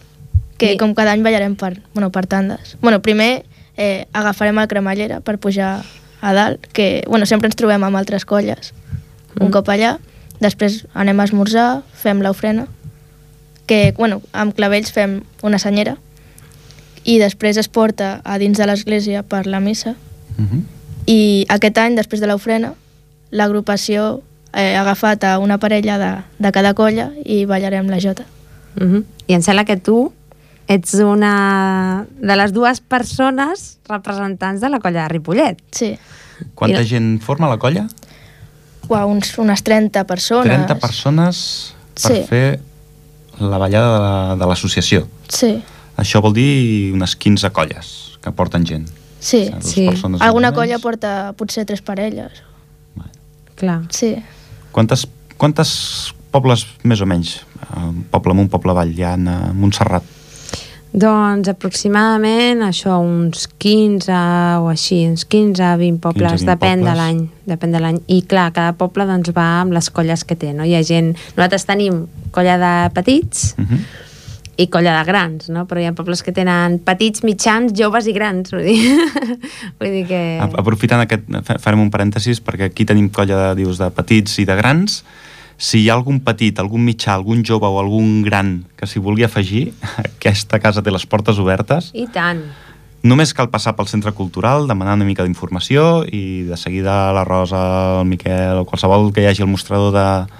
Speaker 3: que
Speaker 1: Sí.
Speaker 3: com cada any ballarem per, bueno, per tandes. Bueno, primer eh, agafarem el cremallera per pujar a dalt, que bueno, sempre ens trobem amb altres colles. Mm. Un cop allà, després anem a esmorzar, fem l'ofrena, que bueno, amb clavells fem una senyera, i després es porta a dins de l'església per la missa,
Speaker 2: Mhm.
Speaker 3: i aquest any, després de l'ofrena, l'agrupació eh, ha agafat a una parella de, de cada colla i ballarem la jota.
Speaker 1: Uh
Speaker 2: Mhm.
Speaker 1: -huh. I em sembla que tu ets una de les dues persones representants de la colla de Ripollet.
Speaker 3: Sí.
Speaker 2: Quanta
Speaker 1: Mira.
Speaker 2: gent forma la colla?
Speaker 3: Uau, uns, unes 30 persones.
Speaker 2: 30 persones per
Speaker 3: Sí.
Speaker 2: fer la ballada de la- de l'associació.
Speaker 3: Sí,
Speaker 2: Això vol dir unes 15 colles que porten gent.
Speaker 3: sí.
Speaker 2: Dues
Speaker 1: Sí.
Speaker 2: persones
Speaker 3: Alguna
Speaker 2: només.
Speaker 3: colla porta potser tres parelles.
Speaker 2: Vale.
Speaker 1: Clar.
Speaker 3: Sí.
Speaker 2: Quantes, quantes pobles, més o menys, un poble amunt, poble avall, hi ha a Montserrat?
Speaker 1: Doncs aproximadament això, uns 15 o així, uns 15 a 20 pobles,
Speaker 2: 15, 20
Speaker 1: depèn de
Speaker 2: pobles.
Speaker 1: l'any, depèn de l'any. I clar, cada poble doncs va amb les colles que té, no? Hi ha gent... Nosaltres tenim colla de petits
Speaker 2: Uh -huh.
Speaker 1: i colla de grans, no? Però hi ha pobles que tenen petits, mitjans, joves i grans, vull dir, vull dir que...
Speaker 2: A- Aprofitant aquest, fa- farem un parèntesis perquè aquí tenim colla de, dius, de petits i de grans. Si hi ha algun petit, algun mitjà, algun jove o algun gran que s'hi vulgui afegir, aquesta casa té les portes obertes.
Speaker 1: I tant.
Speaker 2: Només cal passar pel centre cultural, demanar una mica d'informació i de seguida la Rosa, el Miquel o qualsevol que hi hagi al mostrador de,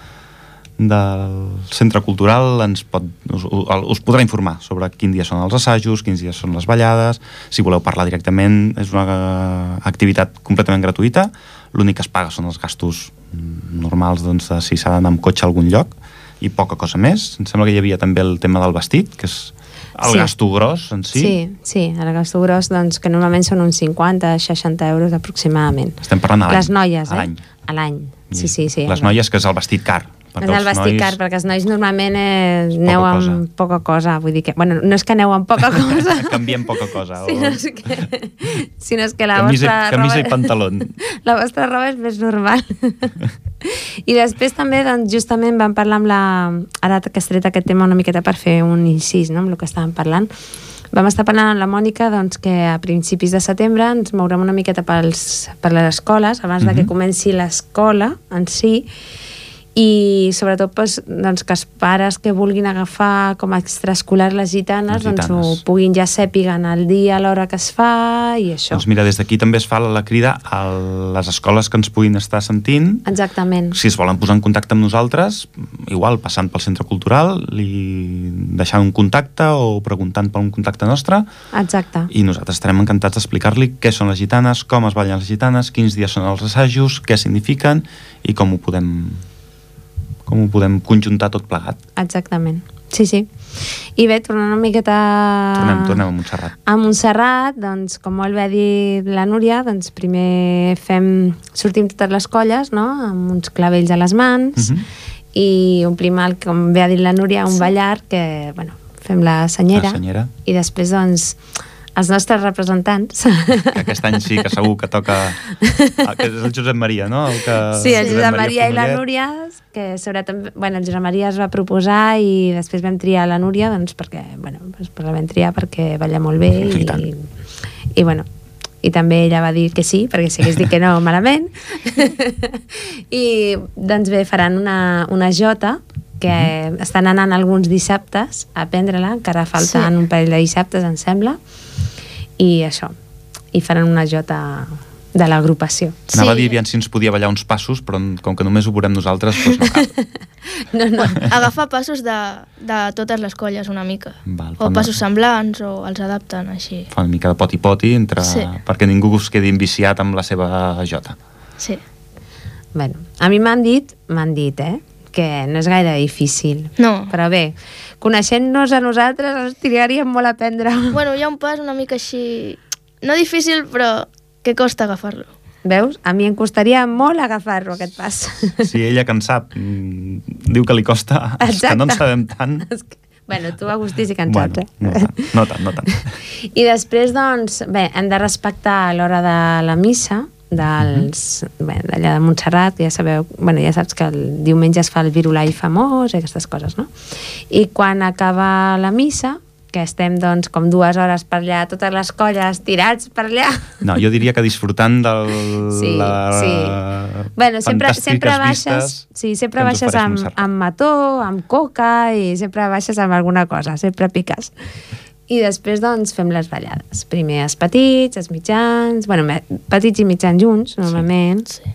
Speaker 2: del centre cultural ens pot, us, us podrà informar sobre quin dia són els assajos, quins dies són les ballades, si voleu parlar directament és una eh, activitat completament gratuïta, l'únic que es paga són els gastos mm, normals doncs, de si s'ha d'anar amb cotxe a algun lloc i poca cosa més, em sembla que hi havia també el tema del vestit, que és el
Speaker 1: Sí.
Speaker 2: gasto gros en si,
Speaker 1: Sí, sí, el gasto gros, doncs, que normalment són uns 50-60 euros aproximadament.
Speaker 2: Estem parlant a l'any.
Speaker 1: Les noies,
Speaker 2: A
Speaker 1: eh?
Speaker 2: l'any.
Speaker 1: A l'any. Sí, sí, sí.
Speaker 2: Les noies, que és el vestit car.
Speaker 1: Perquè el vesticar, nois... perquè els nois normalment eh, aneu poca amb cosa. poca cosa. Vull dir que, bueno, no és que aneu amb poca cosa.
Speaker 2: Canviem poca cosa.
Speaker 1: Si no és que, si no és que la
Speaker 2: camisa,
Speaker 1: vostra
Speaker 2: camisa i
Speaker 1: roba...
Speaker 2: pantalón.
Speaker 1: La vostra roba és més normal. I després també, doncs, justament vam parlar amb la... Ara que has tret aquest tema una miqueta per fer un incís, no?, amb el que estàvem parlant. Vam estar parlant amb la Mònica doncs, que a principis de setembre ens mourem una miqueta pels, per les escoles, abans mm -hmm. de que
Speaker 2: Mhm.
Speaker 1: comenci l'escola en si, i sobretot pues, doncs, que els pares que vulguin agafar com a extraescolar les gitanes,
Speaker 2: Les
Speaker 1: doncs ho
Speaker 2: gitanes.
Speaker 1: puguin ja sàpiguen el dia, l'hora que es fa i això.
Speaker 2: Doncs mira, des d'aquí també es fa la crida a les escoles que ens puguin estar sentint
Speaker 1: Exactament.
Speaker 2: si es volen posar en contacte amb nosaltres, igual passant pel centre cultural i deixant un contacte o preguntant per un contacte nostre
Speaker 1: Exacte.
Speaker 2: i nosaltres estarem encantats d'explicar-li què són les gitanes, com es ballen les gitanes, quins dies són els assajos, què signifiquen i com ho podem com ho podem conjuntar tot plegat.
Speaker 1: Exactament. Sí, sí. I bé, tornant una miqueta...
Speaker 2: Tornem, tornem a Montserrat.
Speaker 1: A Montserrat, doncs, com molt bé ha dit la Núria, doncs primer fem, sortim totes les colles, no?, amb uns clavells a les mans,
Speaker 2: Mhm.
Speaker 1: i omplim el, com bé ha dit la Núria, un ballar, que, bueno, fem la senyera,
Speaker 2: La senyera.
Speaker 1: i després, doncs, els nostres representants.
Speaker 2: Que aquest any sí que segur que toca... el Que és el Josep Maria, no? El que
Speaker 1: Sí, el Josep Maria i la
Speaker 2: Fornellet.
Speaker 1: Núria, que sobretot, bueno, el Josep Maria es va proposar i després vam triar la Núria, doncs perquè, bueno, doncs la vam triar perquè balla molt bé
Speaker 2: I
Speaker 1: i,
Speaker 2: tant.
Speaker 1: i bueno, i també ella va dir que sí, perquè si hagués dit que no, malament. I doncs bé, faran una, una jota, que estan anant alguns dissabtes a prendre-la, encara falten
Speaker 3: Sí.
Speaker 1: un parell de dissabtes, em sembla, i això, i faran una jota de l'agrupació.
Speaker 2: Anava a
Speaker 3: Sí.
Speaker 2: dir aviam si ens podia ballar uns passos, però com que només ho veurem nosaltres, doncs no cal.
Speaker 1: No, no.
Speaker 3: Agafa passos de, de totes les colles una mica.
Speaker 2: Val,
Speaker 3: o
Speaker 2: quan-
Speaker 3: passos semblants, o els adapten així.
Speaker 2: Fa una mica de poti-poti entre...
Speaker 3: Sí.
Speaker 2: perquè ningú es quedi enviciat amb la seva jota.
Speaker 3: Sí.
Speaker 1: Bueno, a mi m'han dit, m'han dit, eh? que no és gaire difícil.
Speaker 3: No.
Speaker 1: Però bé, coneixent-nos a nosaltres, ens tiraríem molt a prendre.
Speaker 3: Bueno, hi ha un pas una mica així... No difícil, però que costa agafar-lo.
Speaker 1: Veus? A mi em costaria molt agafar-lo, aquest pas.
Speaker 2: Si ella que en sap mm, diu que li costa, els que no en
Speaker 1: Exacte.
Speaker 2: sabem tant...
Speaker 1: És que- bueno, tu, Agustí, sí que en saps,
Speaker 2: Bueno,
Speaker 1: eh?
Speaker 2: no tant, no tant, no tant.
Speaker 1: I després, doncs, bé, hem de respectar l'hora de la missa dels, bé, d'allà de Montserrat, que ja sabeu, bueno, ja saps que el diumenge es fa el virulai famós i aquestes coses, no? I quan acaba la missa, que estem, doncs, com dues hores per allà, totes les colles tirats per allà...
Speaker 2: No, jo diria que disfrutant de
Speaker 1: Sí,
Speaker 2: la...
Speaker 1: sí. Bueno, sempre,
Speaker 2: fantàstiques
Speaker 1: sempre baixes,
Speaker 2: vistes
Speaker 1: sí, sempre
Speaker 2: que ens
Speaker 1: baixes
Speaker 2: ofereix
Speaker 1: amb,
Speaker 2: Montserrat.
Speaker 1: amb mató, amb coca i sempre baixes amb alguna cosa, sempre piques. I després, doncs, fem les ballades. Primer els petits, els mitjans... Bueno, me- petits i mitjans junts, normalment.
Speaker 3: Sí.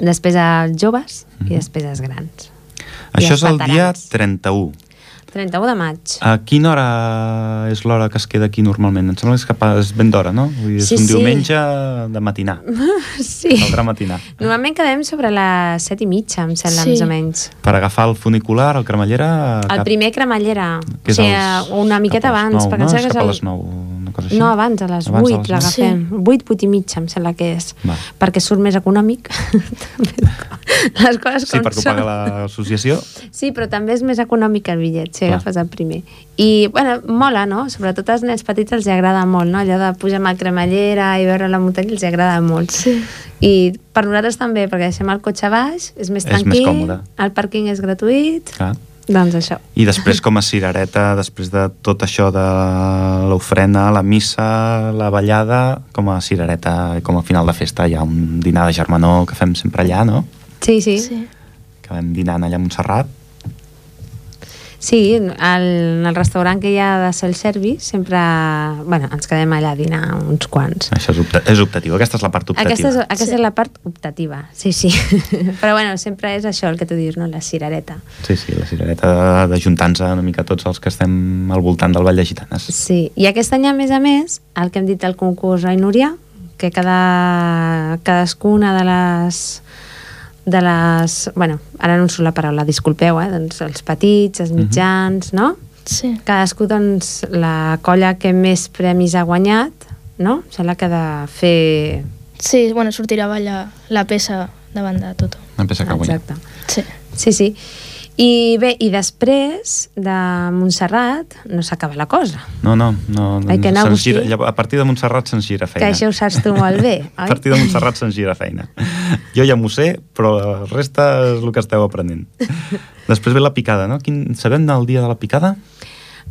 Speaker 1: Després els joves
Speaker 2: Mhm.
Speaker 1: i després els grans.
Speaker 2: Això
Speaker 1: els
Speaker 2: és el dia
Speaker 1: veterans.
Speaker 2: 31.
Speaker 1: 31 de maig.
Speaker 2: A quina hora és l'hora que es queda aquí normalment? Em sembla que és, cap a, és ben d'hora, no? Vull dir, és
Speaker 1: Sí,
Speaker 2: un
Speaker 1: sí.
Speaker 2: diumenge de matinar.
Speaker 1: Sí.
Speaker 2: Caldrà matinar.
Speaker 1: Normalment quedem sobre les 7 i mitja, em sembla,
Speaker 3: Sí.
Speaker 1: més o menys.
Speaker 2: Per agafar el funicular, el cremallera...
Speaker 1: El
Speaker 2: Ah, cap-
Speaker 1: primer cremallera. O
Speaker 2: que és
Speaker 1: sigui,
Speaker 2: als-
Speaker 1: una miqueta
Speaker 2: cap als
Speaker 1: abans.
Speaker 2: nou,
Speaker 1: perquè em
Speaker 2: no?
Speaker 1: sembla
Speaker 2: És
Speaker 1: que
Speaker 2: cap a
Speaker 1: el-
Speaker 2: les 9, una cosa així.
Speaker 1: No, abans, a les
Speaker 2: Abans de
Speaker 1: 8
Speaker 2: les
Speaker 1: l'agafem.
Speaker 3: nou.
Speaker 1: 8, 8 i mitja, em sembla que és.
Speaker 2: Va.
Speaker 1: Perquè surt més econòmic. les coses
Speaker 2: Sí,
Speaker 1: com
Speaker 2: perquè ho
Speaker 1: són.
Speaker 2: paga l'associació.
Speaker 1: Sí, però també és més econòmic el bitllet, si
Speaker 2: Clar.
Speaker 1: agafes el primer. I, bueno, mola, no? Sobretot als nens petits els hi agrada molt, no? Allò de pujar amb la cremallera i veure la muntanya els hi agrada molt.
Speaker 3: Sí.
Speaker 1: I per nosaltres també, perquè deixem el cotxe a baix, és més
Speaker 2: És més
Speaker 1: tranquil,
Speaker 2: còmode.
Speaker 1: el pàrquing és gratuït,
Speaker 2: Clar.
Speaker 1: doncs això.
Speaker 2: I després, com a cirereta, després de tot això de l'ofrena, la missa, la ballada, com a cirereta, i com a final de festa, hi ha un dinar de germanor que fem sempre allà, no?
Speaker 1: Sí, sí.
Speaker 3: sí.
Speaker 2: Que vam dinant allà a Montserrat.
Speaker 1: Sí, al, en el restaurant que hi ha de self-service sempre bueno, ens quedem allà a dinar uns quants.
Speaker 2: Això és, opta és optatiu. Aquesta és la part optativa.
Speaker 1: Aquesta és, aquesta
Speaker 3: Sí.
Speaker 1: és la part optativa, sí, sí. Però bueno, sempre és això el que tu dius, no? La cirereta.
Speaker 2: Sí, sí, la cirereta d'ajuntar-nos una mica tots els que estem al voltant del Vall de Gitanes.
Speaker 1: Sí, i aquest any, a més a més, el que hem dit del concurs Ai Núria, que cada, cadascuna de les de les... Bueno, ara no em surt la paraula, disculpeu, eh? Doncs els petits, els mitjans, no?
Speaker 3: Sí.
Speaker 1: Cadascú, doncs, la colla que més premis ha guanyat, no? Em Sembla que de fer...
Speaker 3: Sí, bueno, sortirà a ballar la peça davant de tothom.
Speaker 2: Em pensa que guanyem.
Speaker 1: Exacte.
Speaker 3: Sí.
Speaker 1: Sí, sí. I bé, i després de Montserrat no s'acaba la cosa.
Speaker 2: No, no, no. doncs
Speaker 1: Ai, que en
Speaker 2: se'ns
Speaker 1: Agustí-
Speaker 2: gira, lla- a partir de Montserrat se'ns gira feina.
Speaker 1: Que això ho saps tu molt bé,
Speaker 2: a
Speaker 1: oi?
Speaker 2: partir de Montserrat se'ns gira feina. Jo ja m'ho sé, però la resta és el que esteu aprenent. Després ve la picada, no? Quin, sabem el dia de la picada?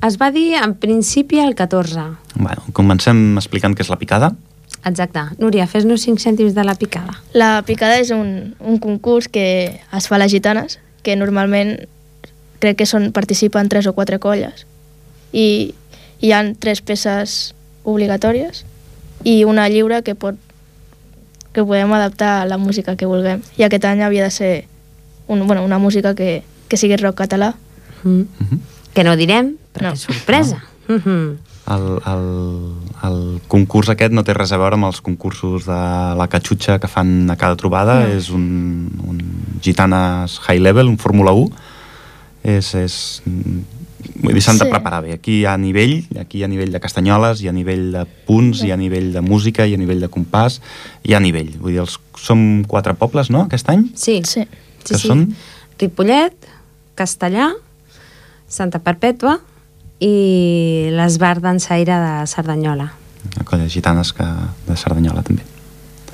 Speaker 1: Es va dir en principi el 14.
Speaker 2: Bueno, comencem explicant què és la picada.
Speaker 1: Exacte. Núria, fes-nos 5 cèntims de la picada.
Speaker 3: La picada és un, un concurs que es fa a les gitanes, que normalment crec que són, participen tres o quatre colles i hi han tres peces obligatòries i una lliure que pot que podem adaptar a la música que vulguem. I aquest any havia de ser un, bueno, una música que, que sigui rock català.
Speaker 1: Mm.
Speaker 2: Uh -huh.
Speaker 1: Que no direm, perquè
Speaker 3: No.
Speaker 1: és sorpresa. No. Mm -hmm.
Speaker 2: El, el, el concurs aquest no té res a veure amb els concursos de la catxutxa que fan a cada trobada, no. és un, un gitanes high level, un Fórmula 1, és... és vull dir, s'han sí. de
Speaker 3: Sí.
Speaker 2: preparar bé. Aquí hi ha nivell, aquí hi ha nivell de castanyoles, hi ha nivell de punts, hi ha nivell de música, hi ha nivell de compàs, hi ha nivell. Vull dir, els, som quatre pobles, no?, aquest any?
Speaker 1: Sí.
Speaker 3: Sí.
Speaker 1: sí,
Speaker 2: Que
Speaker 1: sí.
Speaker 2: són?
Speaker 1: Ripollet, Castellà, Santa Perpètua i l'Esbar d'Ensaire de Cerdanyola.
Speaker 2: La colla de gitanes que, de Cerdanyola, també.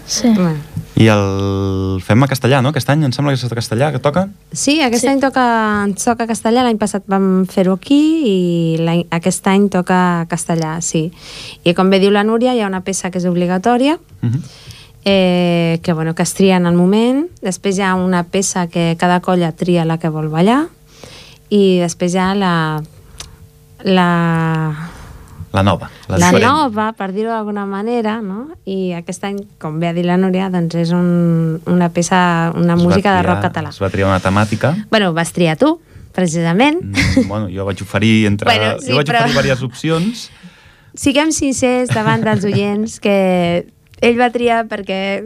Speaker 3: Sí.
Speaker 1: Bueno.
Speaker 2: I el fem a castellà, no?, aquest any? Em sembla que és a castellà que toca?
Speaker 1: Sí, aquest
Speaker 3: Sí.
Speaker 1: sí. any toca, ens toca castellà, l'any passat vam fer-ho aquí i l'any- aquest any toca castellà, sí. I com bé diu la Núria, hi ha una peça que és obligatòria,
Speaker 2: Uh -huh.
Speaker 1: eh, que, bueno, que es tria en el moment, després hi ha una peça que cada colla tria la que vol ballar i després hi ha la, la,
Speaker 2: La nova.
Speaker 1: la,
Speaker 2: diferent.
Speaker 1: nova, per dir-ho d'alguna manera, no? I aquest any, com bé ha dit la Núria, doncs és un, una peça, una
Speaker 2: Es va
Speaker 1: música de
Speaker 2: triar-
Speaker 1: rock català.
Speaker 2: Es va triar una temàtica.
Speaker 1: Bueno, vas triar tu, precisament.
Speaker 2: Mm, bueno, jo vaig oferir entre...
Speaker 1: Bueno, sí,
Speaker 2: jo vaig
Speaker 1: però-
Speaker 2: oferir diverses opcions.
Speaker 1: Siguem sincers davant dels oients que ell va triar perquè,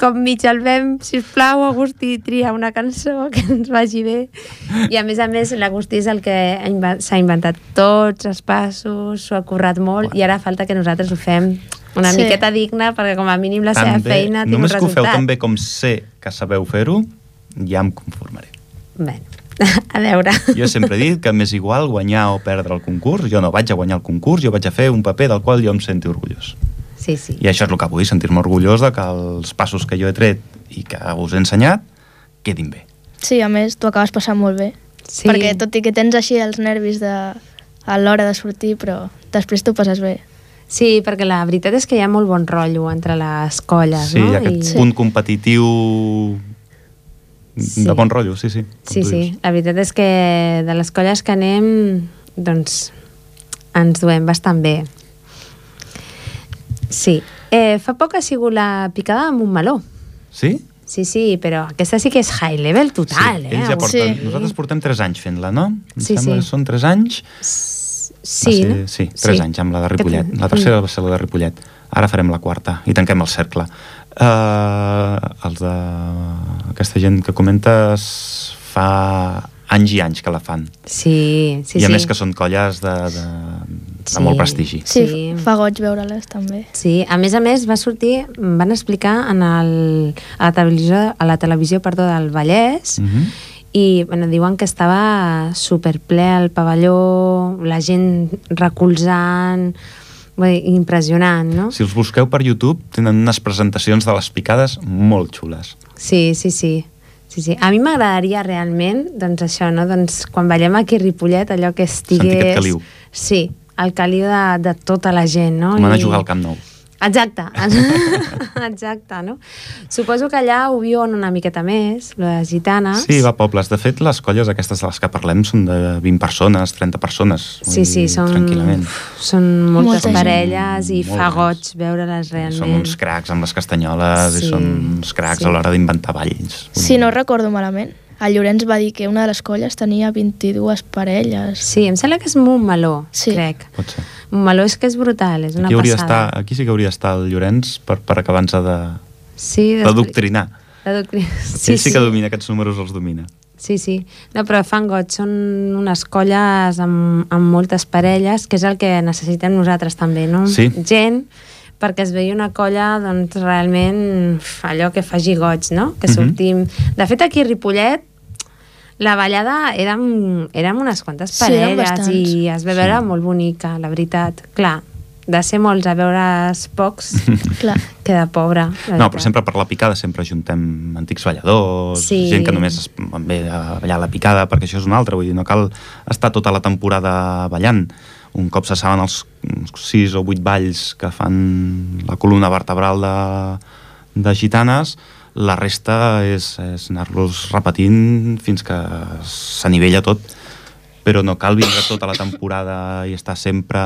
Speaker 1: com mig el vem, sisplau, Agustí, tria una cançó que ens vagi bé. I a més a més, l'Agustí és el que ha inven- s'ha inventat tots els passos, s'ho ha currat molt i ara falta que nosaltres ho fem una
Speaker 3: Sí.
Speaker 1: sí. miqueta digna perquè com a mínim la seva
Speaker 2: També,
Speaker 1: feina tingui un
Speaker 2: només que ho
Speaker 1: resultat.
Speaker 2: feu tan bé com sé que sabeu fer-ho, ja em conformaré.
Speaker 1: Bé, a veure.
Speaker 2: Jo sempre he dit que m'és igual guanyar o perdre el concurs. Jo no vaig a guanyar el concurs, jo vaig a fer un paper del qual jo em sento orgullós.
Speaker 1: Sí, sí.
Speaker 2: I això és el que vull, sentir-me orgullós de que els passos que jo he tret i que us he ensenyat quedin bé.
Speaker 3: Sí, a més, t'ho acabes passant molt bé.
Speaker 1: sí.
Speaker 3: Perquè tot i que tens així els nervis de, a l'hora de sortir, però després t'ho passes bé.
Speaker 1: Sí, perquè la veritat és que hi ha molt bon rotllo entre les colles,
Speaker 2: Sí,
Speaker 1: no?
Speaker 2: aquest
Speaker 1: I-
Speaker 2: punt competitiu
Speaker 1: Sí.
Speaker 2: de bon rotllo, sí, sí. com
Speaker 1: Sí,
Speaker 2: tu
Speaker 1: sí,
Speaker 2: dius.
Speaker 1: la veritat és que de les colles que anem, doncs, ens duem bastant bé. Sí. Eh, fa poc ha sigut la picada amb un meló.
Speaker 2: Sí?
Speaker 1: Sí, sí, però aquesta sí que és high level total,
Speaker 2: sí,
Speaker 1: eh?
Speaker 2: ells ja
Speaker 1: Avui.
Speaker 2: porten,
Speaker 3: Sí.
Speaker 2: Nosaltres portem 3 anys fent-la, no? Em
Speaker 1: Sí,
Speaker 2: sembla
Speaker 1: sí.
Speaker 2: que són 3 anys. Va
Speaker 1: Sí,
Speaker 2: ser,
Speaker 1: no?
Speaker 2: sí 3 anys amb la de
Speaker 1: Que- Mm.
Speaker 2: Ripollet. La tercera va ser la de Ripollet. Ara farem la quarta i tanquem el cercle. Uh, els de... Aquesta gent que comentes fa anys i anys que la fan.
Speaker 1: Sí, sí,
Speaker 2: I a
Speaker 1: sí.
Speaker 2: més que són colles de, de, de
Speaker 1: Sí.
Speaker 2: molt prestigi.
Speaker 1: Sí.
Speaker 3: Sí, sí. fa goig veure-les també.
Speaker 1: Sí, a més a més va sortir, em van explicar en el, a la televisió, a la televisió perdó, del Vallès,
Speaker 2: Mhm.
Speaker 1: i bueno, diuen que estava superple al pavelló, la gent recolzant, vull dir, impressionant, no?
Speaker 2: Si els busqueu per YouTube, tenen unes presentacions de les picades molt xules.
Speaker 1: Sí, sí, sí. sí, sí. A mi m'agradaria realment, doncs això, no? Doncs quan ballem aquí a Ripollet, allò que estigués...
Speaker 2: Sentir aquest caliu.
Speaker 1: Sí, el caliu de, de tota la gent, no?
Speaker 2: Com anar
Speaker 1: I-
Speaker 2: a jugar al Camp Nou.
Speaker 1: Exacte, exacte, no? Suposo que allà ho viuen una miqueta més, les gitanes.
Speaker 2: Sí, va a pobles. De fet, les colles aquestes de les que parlem són de 20 persones, 30 persones. vull
Speaker 1: Sí, sí,
Speaker 2: dir,
Speaker 1: són,
Speaker 2: Tranquil·lament.
Speaker 1: són moltes
Speaker 3: Molta gent.
Speaker 1: parelles i
Speaker 2: Molt
Speaker 1: fa
Speaker 2: grans.
Speaker 1: goig veure-les realment.
Speaker 2: Són uns cracs amb les castanyoles
Speaker 1: Sí,
Speaker 2: i són uns cracs
Speaker 1: sí.
Speaker 2: a l'hora d'inventar balls.
Speaker 3: Si no recordo malament, el Llorenç va dir que una de les colles tenia 22 parelles.
Speaker 1: Sí, em sembla que és Montmeló,
Speaker 3: Sí.
Speaker 1: sí. crec.
Speaker 2: Pot ser.
Speaker 1: Montmeló és que és brutal, és una
Speaker 2: Aquí, hauria
Speaker 1: passada.
Speaker 2: estar, aquí sí que hauria d'estar el Llorenç per, per acabar-nos de,
Speaker 1: Sí,
Speaker 2: de doctrinar.
Speaker 1: De doctri...
Speaker 2: Sí,
Speaker 1: Sí,
Speaker 2: Ell sí que domina aquests números, els domina.
Speaker 1: Sí, sí. No, però fan goig, són unes colles amb, amb moltes parelles, que és el que necessitem nosaltres també, no?
Speaker 2: Sí.
Speaker 1: Gent, perquè es vegi una colla, doncs, realment, uf, allò que faci goig, no? Que
Speaker 2: Mhm.
Speaker 1: sortim... De fet, aquí a Ripollet La ballada érem, érem unes quantes
Speaker 3: Sí, érem
Speaker 1: parelles
Speaker 3: bastants.
Speaker 1: i es va veure
Speaker 2: Sí.
Speaker 1: molt bonica, la veritat. Clar, de ser molts a veure's pocs
Speaker 3: Clar.
Speaker 1: queda pobra. la
Speaker 2: No,
Speaker 1: veritat.
Speaker 2: però sempre per la picada sempre ajuntem antics balladors,
Speaker 1: Sí.
Speaker 2: gent que només es ve a ballar la picada, perquè això és una altra, vull dir, no cal estar tota la temporada ballant. Un cop se saben els uns sis o vuit balls que fan la columna vertebral de, de gitanes, la resta és, és anar-los repetint fins que s'anivella tot però no cal vindre tota la temporada i estar sempre...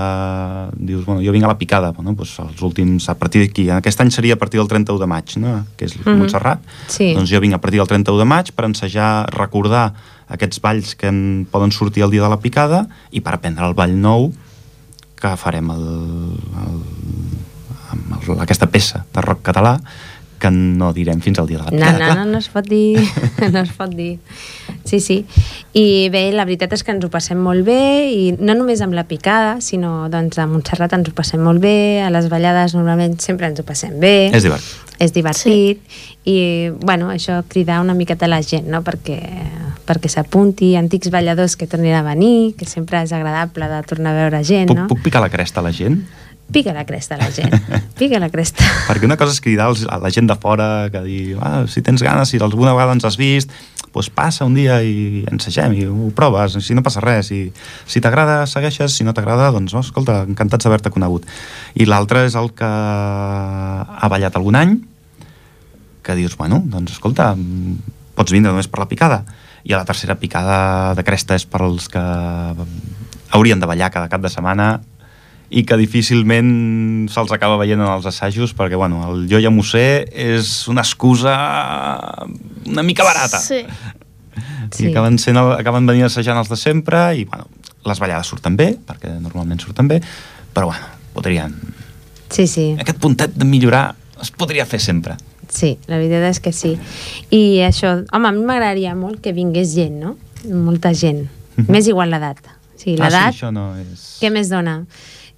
Speaker 2: Dius, bueno, jo vinc a la picada, bueno, doncs els últims... A partir d'aquí, aquest any seria a partir del 31 de maig, no? que és
Speaker 1: Mhm.
Speaker 2: Montserrat.
Speaker 1: Sí.
Speaker 2: Doncs jo vinc a partir del 31 de maig per ensejar, recordar aquests balls que en poden sortir el dia de la picada i per aprendre el ball nou que farem el, el, amb el, aquesta peça de rock català que no direm fins al dia de la
Speaker 1: No,
Speaker 2: picada.
Speaker 1: no,
Speaker 2: clar.
Speaker 1: no, no es pot dir, no es pot dir. Sí, sí. I bé, la veritat és que ens ho passem molt bé i no només amb la picada, sinó doncs a Montserrat ens ho passem molt bé, a les ballades normalment sempre ens ho passem bé.
Speaker 2: És divertit.
Speaker 1: és divertit i bueno, això cridar una miqueta la gent no? perquè, perquè s'apunti antics balladors que tornin a venir que sempre és agradable de tornar a veure gent
Speaker 2: Puc,
Speaker 1: Eh, no?
Speaker 2: puc picar la cresta a la gent?
Speaker 1: pica la cresta la gent pica la cresta
Speaker 2: Perquè una cosa és cridar als- a la gent de fora que dir, ah, si tens ganes, si alguna vegada ens has vist, doncs passa un dia i ensegem i ho proves, si no passa res, i si t'agrada segueixes, si no t'agrada, doncs no, escolta, encantats d'haver-te conegut. I l'altre és el que ha ballat algun any, que dius, bueno, doncs escolta, mm, pots vindre només per la picada. I a la tercera picada de cresta és per als que mm, haurien de ballar cada cap de setmana i que difícilment se'ls acaba veient en els assajos perquè, bueno, el jo ja m'ho sé és una excusa mm, una mica barata.
Speaker 3: Sí.
Speaker 2: Sí. I acaben, sent, el- acaben venint assajant els de sempre i, bueno, les ballades surten bé, perquè normalment surten bé, però, bueno, podrien...
Speaker 1: sí, sí.
Speaker 2: Aquest puntet de millorar es podria fer sempre.
Speaker 1: Sí, la veritat és que sí. I això, home, a mi m'agradaria molt que vingués gent, no? Molta gent. Més igual l'edat. O sigui,
Speaker 2: Mhm. ah,
Speaker 1: l'edat,
Speaker 2: sí, això no és...
Speaker 1: què més dona?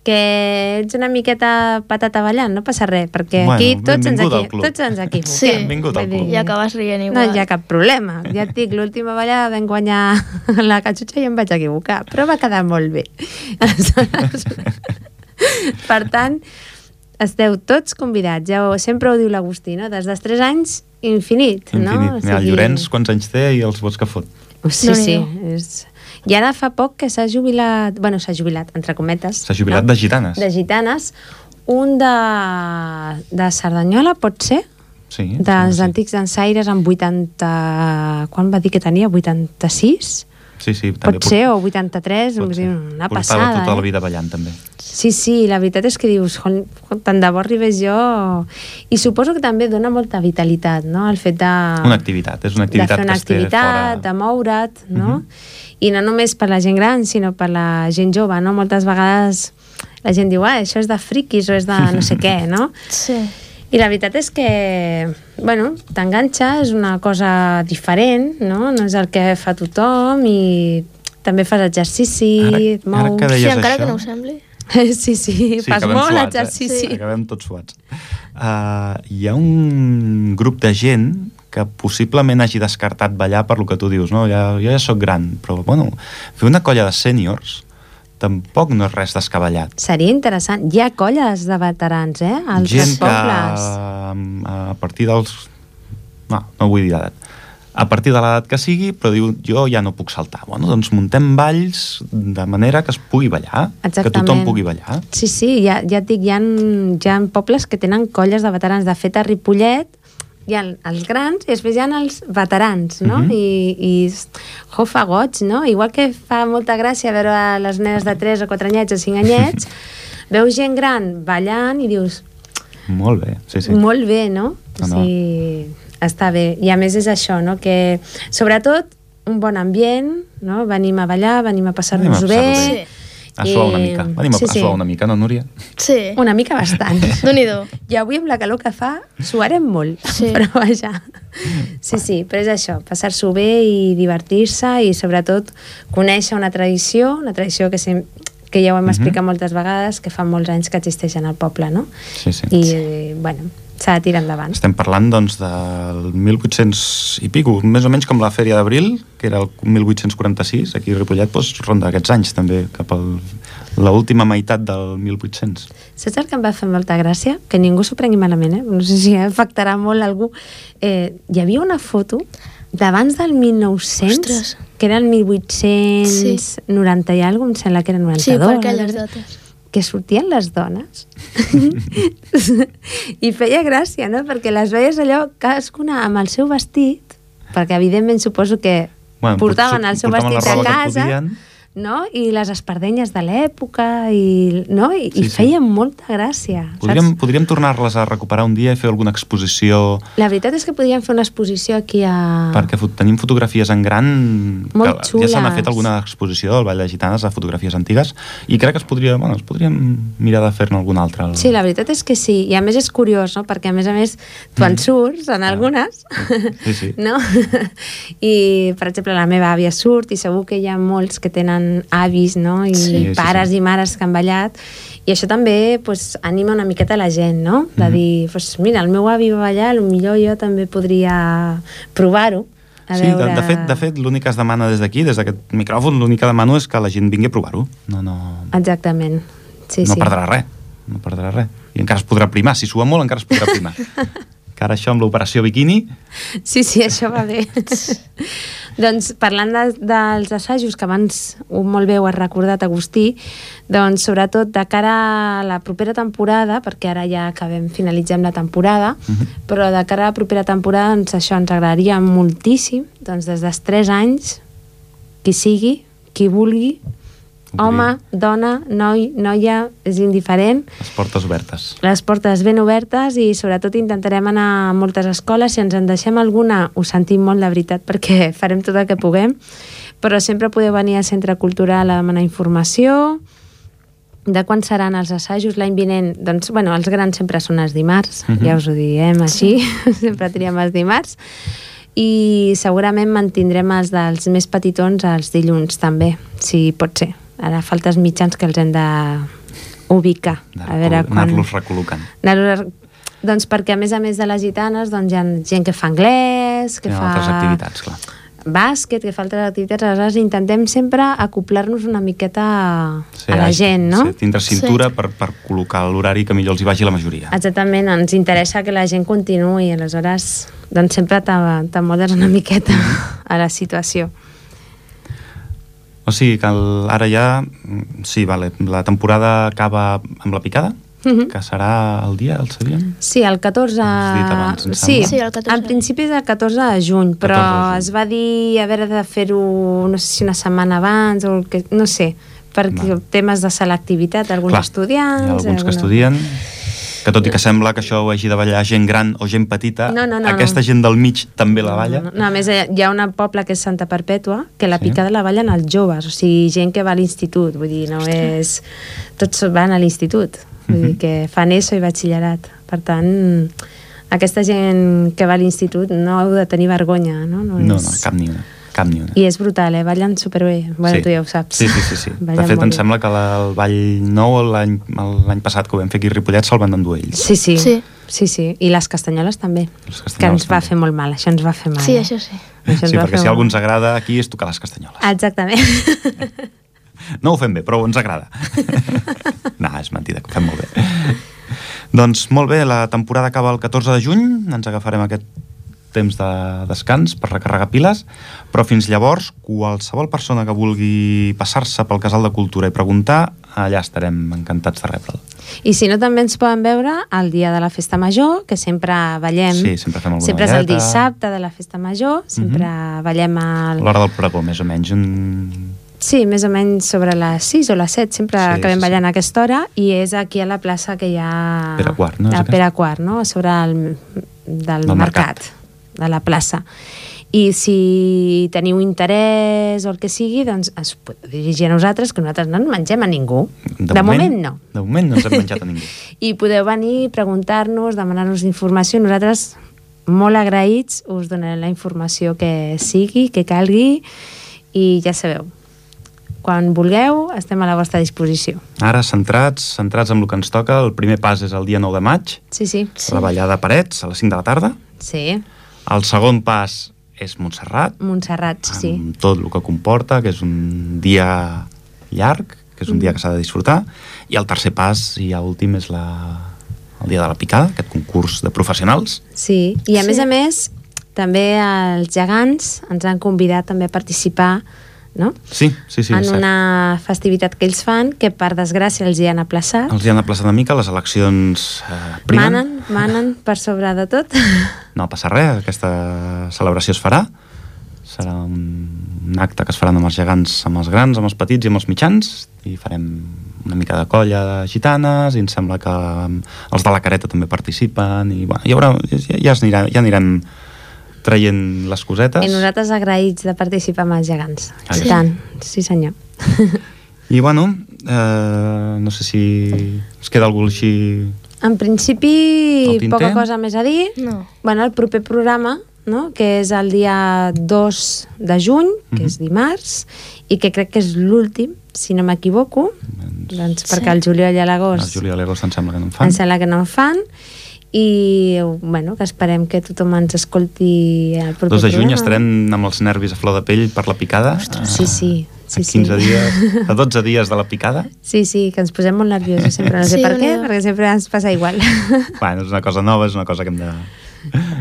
Speaker 1: Que ets una miqueta patata ballant, no passa res, perquè
Speaker 2: Bueno,
Speaker 1: aquí tots ens,
Speaker 2: benvingut
Speaker 1: aquí,
Speaker 2: al club.
Speaker 1: tots ens equivoquem.
Speaker 3: Sí.
Speaker 2: Benvingut al
Speaker 1: Vull
Speaker 2: club.
Speaker 1: dir,
Speaker 3: I acabes rient
Speaker 1: No
Speaker 3: igual.
Speaker 1: hi ha cap problema. Ja et dic, l'última ballada vam guanyar la catxutxa i em vaig equivocar, però va quedar molt bé. Aleshores, per tant, esteu tots convidats. Ja ho, sempre ho diu l'Agustí, no? Des dels 3 anys, infinit, no? Oh,
Speaker 2: Infinit. Mira, el Llorenç quants anys té i els vots que fot.
Speaker 1: Sí, sí.
Speaker 3: Déu-n'hi-do.
Speaker 1: És... I ara fa poc que s'ha jubilat... bueno, s'ha jubilat, entre cometes.
Speaker 2: S'ha jubilat de gitanes.
Speaker 1: De gitanes. Un de, de Cerdanyola, pot ser?
Speaker 2: Sí,
Speaker 1: dels
Speaker 2: sí,
Speaker 1: antics dansaires amb 80... Quan va dir que tenia? 86?
Speaker 2: Sí, sí, també
Speaker 1: Pot ser, o 83,
Speaker 2: pot
Speaker 1: vull
Speaker 2: ser.
Speaker 1: dir, una
Speaker 2: Portava
Speaker 1: passada.
Speaker 2: tota la
Speaker 1: eh?
Speaker 2: vida ballant, també.
Speaker 1: Sí, sí, la veritat és que dius, "Jol, tant de bo arribés jo... I suposo que també dona molta vitalitat, no?, el fet de...
Speaker 2: Una activitat, és una
Speaker 1: Ah. de
Speaker 2: activitat
Speaker 1: fer una
Speaker 2: que es té
Speaker 1: activitat,
Speaker 2: fora... Mhm.
Speaker 1: de moure't, no? I no només per la gent gran, sinó per la gent jove, no? Moltes vegades la gent diu, ah, això és de friquis o és de no sé què, no?
Speaker 3: Sí.
Speaker 1: I la veritat és que, bueno, t'enganxa, és una cosa diferent, no? No és el que fa tothom i també fas exercici,
Speaker 2: Ara-
Speaker 1: et
Speaker 2: ara
Speaker 1: mous...
Speaker 2: que
Speaker 3: Sí,
Speaker 2: deies
Speaker 3: encara que
Speaker 2: això?
Speaker 3: no ho sembli.
Speaker 1: Sí, sí, sí fas
Speaker 2: acabem
Speaker 1: molt
Speaker 2: suats,
Speaker 1: exercici.
Speaker 2: Eh? Acabem tots suats. Uh, hi ha un grup de gent que possiblement hagi descartat ballar per lo que tu dius, no? Ja, jo ja sóc gran, però, bueno, fer una colla de sèniors tampoc no és res descabellat.
Speaker 1: Seria interessant. Hi ha colles de veterans, eh? A Altres
Speaker 2: gent que
Speaker 1: pobles.
Speaker 2: mm, a partir dels... No, no vull dir l'edat. A partir de l'edat que sigui, però diu, jo ja no puc saltar. Bueno, doncs muntem balls de manera que es pugui ballar, que tothom
Speaker 1: Exactament.
Speaker 2: pugui ballar.
Speaker 1: Sí, sí, ja, ja et dic, hi ha, hi ha pobles que tenen colles de veterans. De fet, a Ripollet hi ha els grans i després hi ha els veterans, no?
Speaker 2: Mhm.
Speaker 1: I, i s- jo, fa goig, no? Igual que fa molta gràcia veure les nenes de 3 o 4 anyets o 5 anyets, veus gent gran ballant i dius,
Speaker 2: Molt bé, sí, sí.
Speaker 1: molt bé, no?
Speaker 2: No,
Speaker 1: O
Speaker 2: no.
Speaker 1: sigui, està bé. I a més és això, no? Que, sobretot, un bon ambient, no? Venim a ballar, venim a passar-nos-ho bé.
Speaker 2: Venim a passar-ho
Speaker 3: bé.
Speaker 2: A suar una
Speaker 1: i-
Speaker 2: mica. Anem a,
Speaker 1: sí,
Speaker 2: a suar
Speaker 1: sí.
Speaker 2: una mica, no, Núria?
Speaker 3: Sí.
Speaker 1: Una mica bastant.
Speaker 3: Déu-n'hi-do.
Speaker 1: I avui amb la calor que fa suarem molt, sí.
Speaker 3: Sí.
Speaker 1: però vaja. Sí, sí, però és això, passar-s'ho bé i divertir-se i sobretot conèixer una tradició, una tradició que, sem- que ja ho hem
Speaker 2: Mhm.
Speaker 1: explicat moltes vegades, que fa molts anys que existeixen al poble, no?
Speaker 2: Sí, sí.
Speaker 1: I, eh, bueno, s'ha de tirar endavant.
Speaker 2: Estem parlant, doncs, del 1800 i pico, més o menys com la Fèria d'Abril, que era el 1846, aquí a Ripollet, doncs, ronda aquests anys, també, cap a l'última meitat del 1800.
Speaker 1: Saps el que em va fer molta gràcia? Que ningú s'ho prengui malament, eh? No sé si afectarà molt algú. Eh, hi havia una foto d'abans del 1900,
Speaker 3: Ostres.
Speaker 1: que era el 1890 i alguna cosa, em sembla que era 92.
Speaker 3: Sí, per aquelles
Speaker 1: no?
Speaker 3: dates.
Speaker 1: que sortien les dones i feia gràcia, no? Perquè les veies allò, cadascuna amb el seu vestit, perquè evidentment suposo que bueno, portaven el seu
Speaker 2: portaven la
Speaker 1: vestit a
Speaker 2: roba que
Speaker 1: casa,
Speaker 2: podien.
Speaker 1: no? I les espardenyes de l'època, i, no? I,
Speaker 2: Sí,
Speaker 1: sí,
Speaker 2: sí.
Speaker 1: i feia molta gràcia.
Speaker 2: Podríem,
Speaker 1: Saps?
Speaker 2: podríem tornar-les a recuperar un dia i fer alguna exposició
Speaker 1: La veritat és que podríem fer una exposició aquí a...
Speaker 2: perquè fo- tenim fotografies en gran
Speaker 1: Ah. Molt
Speaker 2: que ja se n'ha
Speaker 1: xules.
Speaker 2: fet alguna exposició del Vall de Gitanes a fotografies antigues i crec que es podria, bueno, es podríem mirar de fer-ne alguna altra al-
Speaker 1: Sí, la veritat és que sí. I a més és curiós, no? Perquè a més a més tu en surts en algunes,
Speaker 2: Mm. Ah. Sí, sí.
Speaker 1: no? I, per exemple, la meva àvia surt i segur que hi ha molts que tenen avis, no? I
Speaker 2: Sí,
Speaker 1: sí,
Speaker 2: sí,
Speaker 1: pares i
Speaker 2: sí.
Speaker 1: mares que han ballat. I això també pues, anima una miqueta la gent, no? De
Speaker 2: Mhm.
Speaker 1: dir, pues, mira, el meu avi va ballar, millor jo també podria provar-ho. a
Speaker 2: sí, de,
Speaker 1: veure-
Speaker 2: de fet, de fet l'únic que es demana des d'aquí, des d'aquest micròfon, l'únic que demano és que la gent vingui a provar-ho. No, no,
Speaker 1: Exactament. Ah, Sí,
Speaker 2: no
Speaker 1: sí.
Speaker 2: perdrà res. No perdrà res. I encara es podrà primar. Si sua molt, encara es podrà primar. que ara això amb l'operació biquini...
Speaker 1: Sí, sí, això va bé. doncs parlant de, dels assajos, que abans ho- molt bé ho has recordat, Agustí, doncs sobretot de cara a la propera temporada, perquè ara ja acabem, finalitzem la temporada,
Speaker 2: Mhm.
Speaker 1: però de cara a la propera temporada doncs, això ens agradaria moltíssim, doncs des dels 3 anys, qui sigui, qui vulgui,
Speaker 2: Obrir.
Speaker 1: home, dona, noi, noia, és indiferent,
Speaker 2: Les portes obertes.
Speaker 1: les portes ben obertes i sobretot intentarem anar a moltes escoles. Si ens en deixem alguna, ho sentim molt, la veritat, perquè farem tot el que puguem. Però sempre podeu venir al Centre Cultural a demanar informació, de quan seran els assajos l'any vinent? Doncs, bueno, els grans sempre són els dimarts,
Speaker 2: Mhm.
Speaker 1: ja us ho diem així, sempre triem els dimarts, i segurament mantindrem els dels més petitons els dilluns també, si pot ser. Ara falta els mitjans que els hem de ubicar.
Speaker 2: De
Speaker 1: A veure
Speaker 2: recol-
Speaker 1: quan...
Speaker 2: Anar-los recol·locant.
Speaker 1: Anar-los a- Doncs perquè, a més a més de les gitanes, doncs hi ha gent que fa anglès, que
Speaker 2: Hi ha
Speaker 1: fa
Speaker 2: altres activitats, clar.
Speaker 1: bàsquet, que fa altres activitats, aleshores intentem sempre acoplar-nos una miqueta a, a la
Speaker 2: ai,
Speaker 1: gent, no?
Speaker 2: Sí, tindre cintura sí. per, per col·locar l'horari que millor els hi vagi la majoria.
Speaker 1: Exactament, ens interessa que la gent continuï, aleshores doncs sempre t'a- t'amodes una miqueta
Speaker 2: Mm.
Speaker 1: a la situació.
Speaker 2: O sigui que el, ara ja... mm, Sí, vale, la temporada acaba amb la picada,
Speaker 1: Mhm.
Speaker 2: que serà el dia, el sabíem?
Speaker 1: Sí, el 14...
Speaker 2: Has dit abans, em
Speaker 1: sí,
Speaker 2: sembla.
Speaker 1: sí, el 14. en principi és el 14 de juny, però
Speaker 2: 14 de juny.
Speaker 1: es va dir a veure de fer-ho, no sé si una setmana abans o el que, no sé, perquè
Speaker 2: Va.
Speaker 1: temes de selectivitat, alguns
Speaker 2: Clar,
Speaker 1: estudiants... eh,
Speaker 2: Hi ha alguns que
Speaker 1: alguna-
Speaker 2: estudien, que tot i que sembla que això ho hagi de ballar gent gran o gent petita,
Speaker 1: No, no, no,
Speaker 2: aquesta
Speaker 1: no.
Speaker 2: gent del mig també la balla.
Speaker 1: No, no, no, a més, hi ha- hi ha un poble que és Santa Perpètua, que la
Speaker 2: Sí.
Speaker 1: picada la ballen els joves, o sigui, gent que va a l'institut, vull dir, no és... Tots van a l'institut, vull dir,
Speaker 2: Mhm.
Speaker 1: que fan ESO i batxillerat. Per tant, aquesta gent que va a l'institut no heu de tenir vergonya, no? No,
Speaker 2: no,
Speaker 1: és...
Speaker 2: no, no cap ni una. Cap ni una.
Speaker 1: I és brutal, eh? Ballen superbé. Bueno,
Speaker 2: Sí.
Speaker 1: tu ja ho saps.
Speaker 2: Sí, sí, sí. sí. De
Speaker 1: Ballen
Speaker 2: fet,
Speaker 1: molt
Speaker 2: em
Speaker 1: bé.
Speaker 2: sembla que la- el Vall Nou l'any l'any passat que ho vam fer aquí a Ripollet se'l van endur ells.
Speaker 1: Sí, sí.
Speaker 3: Sí.
Speaker 1: Sí. Sí, sí, i les castanyoles també,
Speaker 2: Les
Speaker 1: que
Speaker 2: castanyoles
Speaker 1: ens va
Speaker 2: també.
Speaker 1: fer molt mal, això ens va fer mal.
Speaker 3: Sí,
Speaker 1: eh?
Speaker 3: això sí.
Speaker 1: Això ens
Speaker 2: Sí,
Speaker 1: va
Speaker 2: perquè
Speaker 1: fer
Speaker 2: si
Speaker 1: mal.
Speaker 2: algú ens agrada aquí és tocar les castanyoles.
Speaker 1: Exactament.
Speaker 2: No ho fem bé, però ens agrada. no, és mentida, que ho fem molt bé. doncs molt bé, la temporada acaba el 14 de juny, ens agafarem aquest temps de descans per recarregar piles, però fins llavors, qualsevol persona que vulgui passar-se pel Casal de Cultura i preguntar, allà estarem encantats de rebre'l.
Speaker 1: I si no, també ens poden veure el dia de la Festa Major, que sempre ballem.
Speaker 2: Sí, sempre fem alguna
Speaker 1: Sempre és el
Speaker 2: balleta. Mhm.
Speaker 1: dissabte de la Festa Major, sempre ballem al...
Speaker 2: L'hora del pregó, més o menys. Un...
Speaker 1: Sí, més o menys sobre les 6 o les 7, sempre
Speaker 2: Sí,
Speaker 1: sí,
Speaker 2: sí,
Speaker 1: acabem
Speaker 2: sí.
Speaker 1: ballant a aquesta hora, i és aquí a la plaça que hi ha...
Speaker 2: Pere Quart, no? És
Speaker 1: A
Speaker 2: aquest?
Speaker 1: Pere Quart, no? Sobre el, del,
Speaker 2: Del
Speaker 1: del
Speaker 2: mercat.
Speaker 1: mercat, de la plaça. I si teniu interès o el que sigui, doncs es pot dirigir a nosaltres, que nosaltres no ens mengem a ningú. De, moment no.
Speaker 2: De moment no ens hem menjat a ningú.
Speaker 1: i podeu venir, preguntar-nos, demanar-nos informació. Nosaltres, molt agraïts, us donarem la informació que sigui, que calgui, i ja sabeu, Quan vulgueu, estem a la vostra disposició.
Speaker 2: Ara, centrats, centrats en el que ens toca, el primer pas és el dia 9 de maig,
Speaker 1: Sí, sí.
Speaker 2: sí. la ballada a Parets, a les 5 de la tarda.
Speaker 1: Sí. eh?
Speaker 2: El segon pas és Montserrat,
Speaker 1: Montserrat, sí, sí.
Speaker 2: amb tot el que comporta, que és un dia llarg, que és un
Speaker 1: Mm.
Speaker 2: dia que s'ha de disfrutar, i el tercer pas, i ja últim, és la, el dia de la picada, aquest concurs de professionals.
Speaker 1: Sí, i a
Speaker 3: Sí.
Speaker 1: més a més, també els gegants ens han convidat també a participar no?
Speaker 2: Sí, sí, sí,
Speaker 1: en
Speaker 2: és cert.
Speaker 1: una festivitat que ells fan, que per desgràcia els hi han aplaçat.
Speaker 2: Els hi han aplaçat una mica, les eleccions eh, primen.
Speaker 1: Manen, manen per sobre de tot.
Speaker 2: No passa res, aquesta celebració es farà. Serà un, un acte que es faran amb els gegants, amb els grans, amb els petits i amb els mitjans. I farem una mica de colla de gitanes i em sembla que mm, els de la careta també participen. I bueno, hi haurà, ja, ja, es anirà, ja anirem traient les cosetes.
Speaker 1: I Eh, nosaltres agraïts de participar amb els gegants.
Speaker 2: Ah, sí?
Speaker 1: I tant, sí senyor.
Speaker 2: I bueno, eh, no sé si es queda algú així...
Speaker 1: En principi,
Speaker 2: Al tinter?
Speaker 1: poca cosa més a dir.
Speaker 3: No.
Speaker 1: Bueno, el proper programa, no? que és el dia 2 de juny, que
Speaker 2: Mhm.
Speaker 1: és dimarts, i que crec que és l'últim, si no m'equivoco,
Speaker 2: Doncs,
Speaker 1: doncs
Speaker 3: Sí.
Speaker 1: perquè el juliol i a
Speaker 2: el
Speaker 1: l'agost
Speaker 2: Juli Alegos em sembla que no en fan.
Speaker 1: em sembla que no en fan, i bueno, que esperem que tothom ens escolti el proper
Speaker 2: 2 de juny
Speaker 1: programa.
Speaker 2: estarem amb els nervis a flor de pell per la picada. Ostres,
Speaker 1: sí, sí, sí,
Speaker 2: a 15
Speaker 1: sí.
Speaker 2: dies, a 12 dies de la picada.
Speaker 1: Sí, sí, que ens posem molt nerviosos sempre, no sé
Speaker 3: Sí,
Speaker 1: per què,
Speaker 3: Déu-n'hi-do.
Speaker 1: perquè sempre ens passa igual.
Speaker 2: Bueno, és una cosa nova, és una cosa que hem de...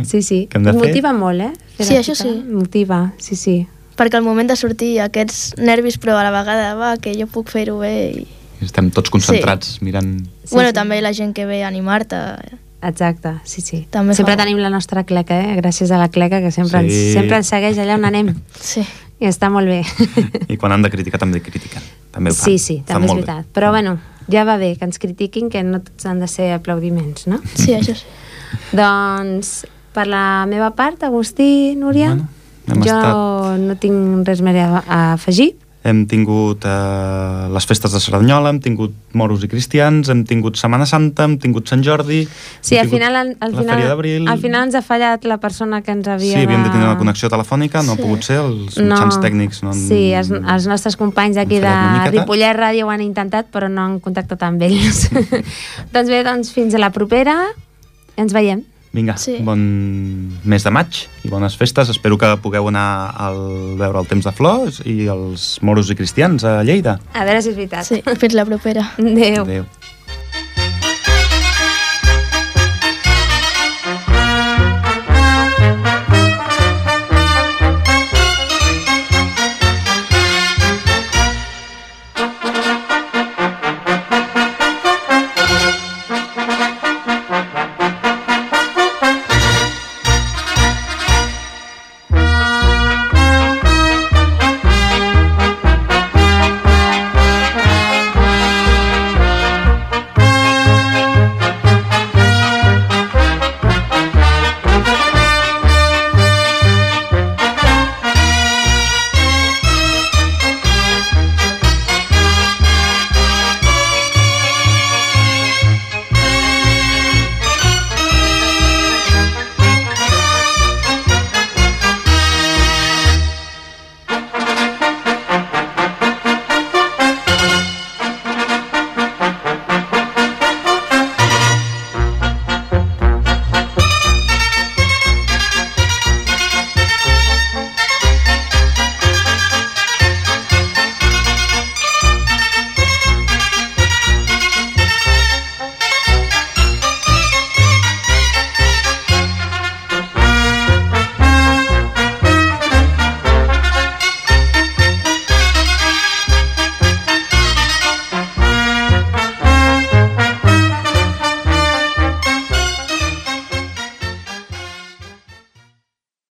Speaker 1: Sí, sí,
Speaker 2: Que hem de fer.
Speaker 1: motiva molt, eh? Fer
Speaker 3: Sí,
Speaker 1: la
Speaker 3: això
Speaker 1: pica.
Speaker 3: sí.
Speaker 1: Motiva, sí, sí.
Speaker 3: Perquè al moment de sortir aquests nervis, però a la vegada, va, que jo puc fer-ho bé i...
Speaker 2: Estem tots concentrats sí. mirant...
Speaker 1: Sí,
Speaker 3: Sí, bueno,
Speaker 1: sí.
Speaker 3: sí. també la gent que ve a animar-te.
Speaker 1: Exacte, sí, sí.
Speaker 3: També
Speaker 1: sempre
Speaker 3: fa-
Speaker 1: tenim la nostra cleca, eh? Gràcies a la cleca, que sempre,
Speaker 2: Sí.
Speaker 1: ens, sempre ens segueix allà on anem.
Speaker 3: Sí.
Speaker 1: I està molt bé.
Speaker 2: I quan han de criticar també critiquen. També ho fan.
Speaker 1: Sí, sí,
Speaker 2: fan
Speaker 1: també és
Speaker 2: molt
Speaker 1: veritat. Però, bueno, ja va bé que ens critiquin, que no tots han de ser aplaudiments, no?
Speaker 3: Sí, això sí.
Speaker 1: doncs, per la meva part, Agustí, Núria,
Speaker 2: Bueno, hem
Speaker 1: jo
Speaker 2: estat-
Speaker 1: no tinc res més a, a afegir.
Speaker 2: Hem tingut eh, les festes de Cerdanyola, hem tingut moros i cristians, hem tingut Setmana Santa, hem tingut Sant Jordi...
Speaker 1: Sí,
Speaker 2: hem
Speaker 1: al
Speaker 2: tingut
Speaker 1: final, al, al,
Speaker 2: La Fèria
Speaker 1: final,
Speaker 2: d'Abril...
Speaker 1: al final ens ha fallat la persona que ens havia...
Speaker 2: Sí, havíem de tenir
Speaker 1: de-
Speaker 2: una connexió telefònica, no ha
Speaker 3: Sí.
Speaker 2: pogut ser, els mitjans tècnics no han...
Speaker 1: Sí, els, els nostres companys d'aquí
Speaker 2: han
Speaker 1: de
Speaker 2: fallat una miqueta.
Speaker 1: Ripollet Ràdio ho han intentat, però no han contactat amb ells. doncs bé, doncs fins a la propera. Ens veiem.
Speaker 2: Vinga, sí.
Speaker 3: Sí.
Speaker 2: bon mes de maig i bones festes. Espero que pugueu anar a veure el temps de flors i els moros i cristians a Lleida.
Speaker 1: A veure si és veritat.
Speaker 3: Sí, fins la propera.
Speaker 1: Adéu.
Speaker 2: Adéu.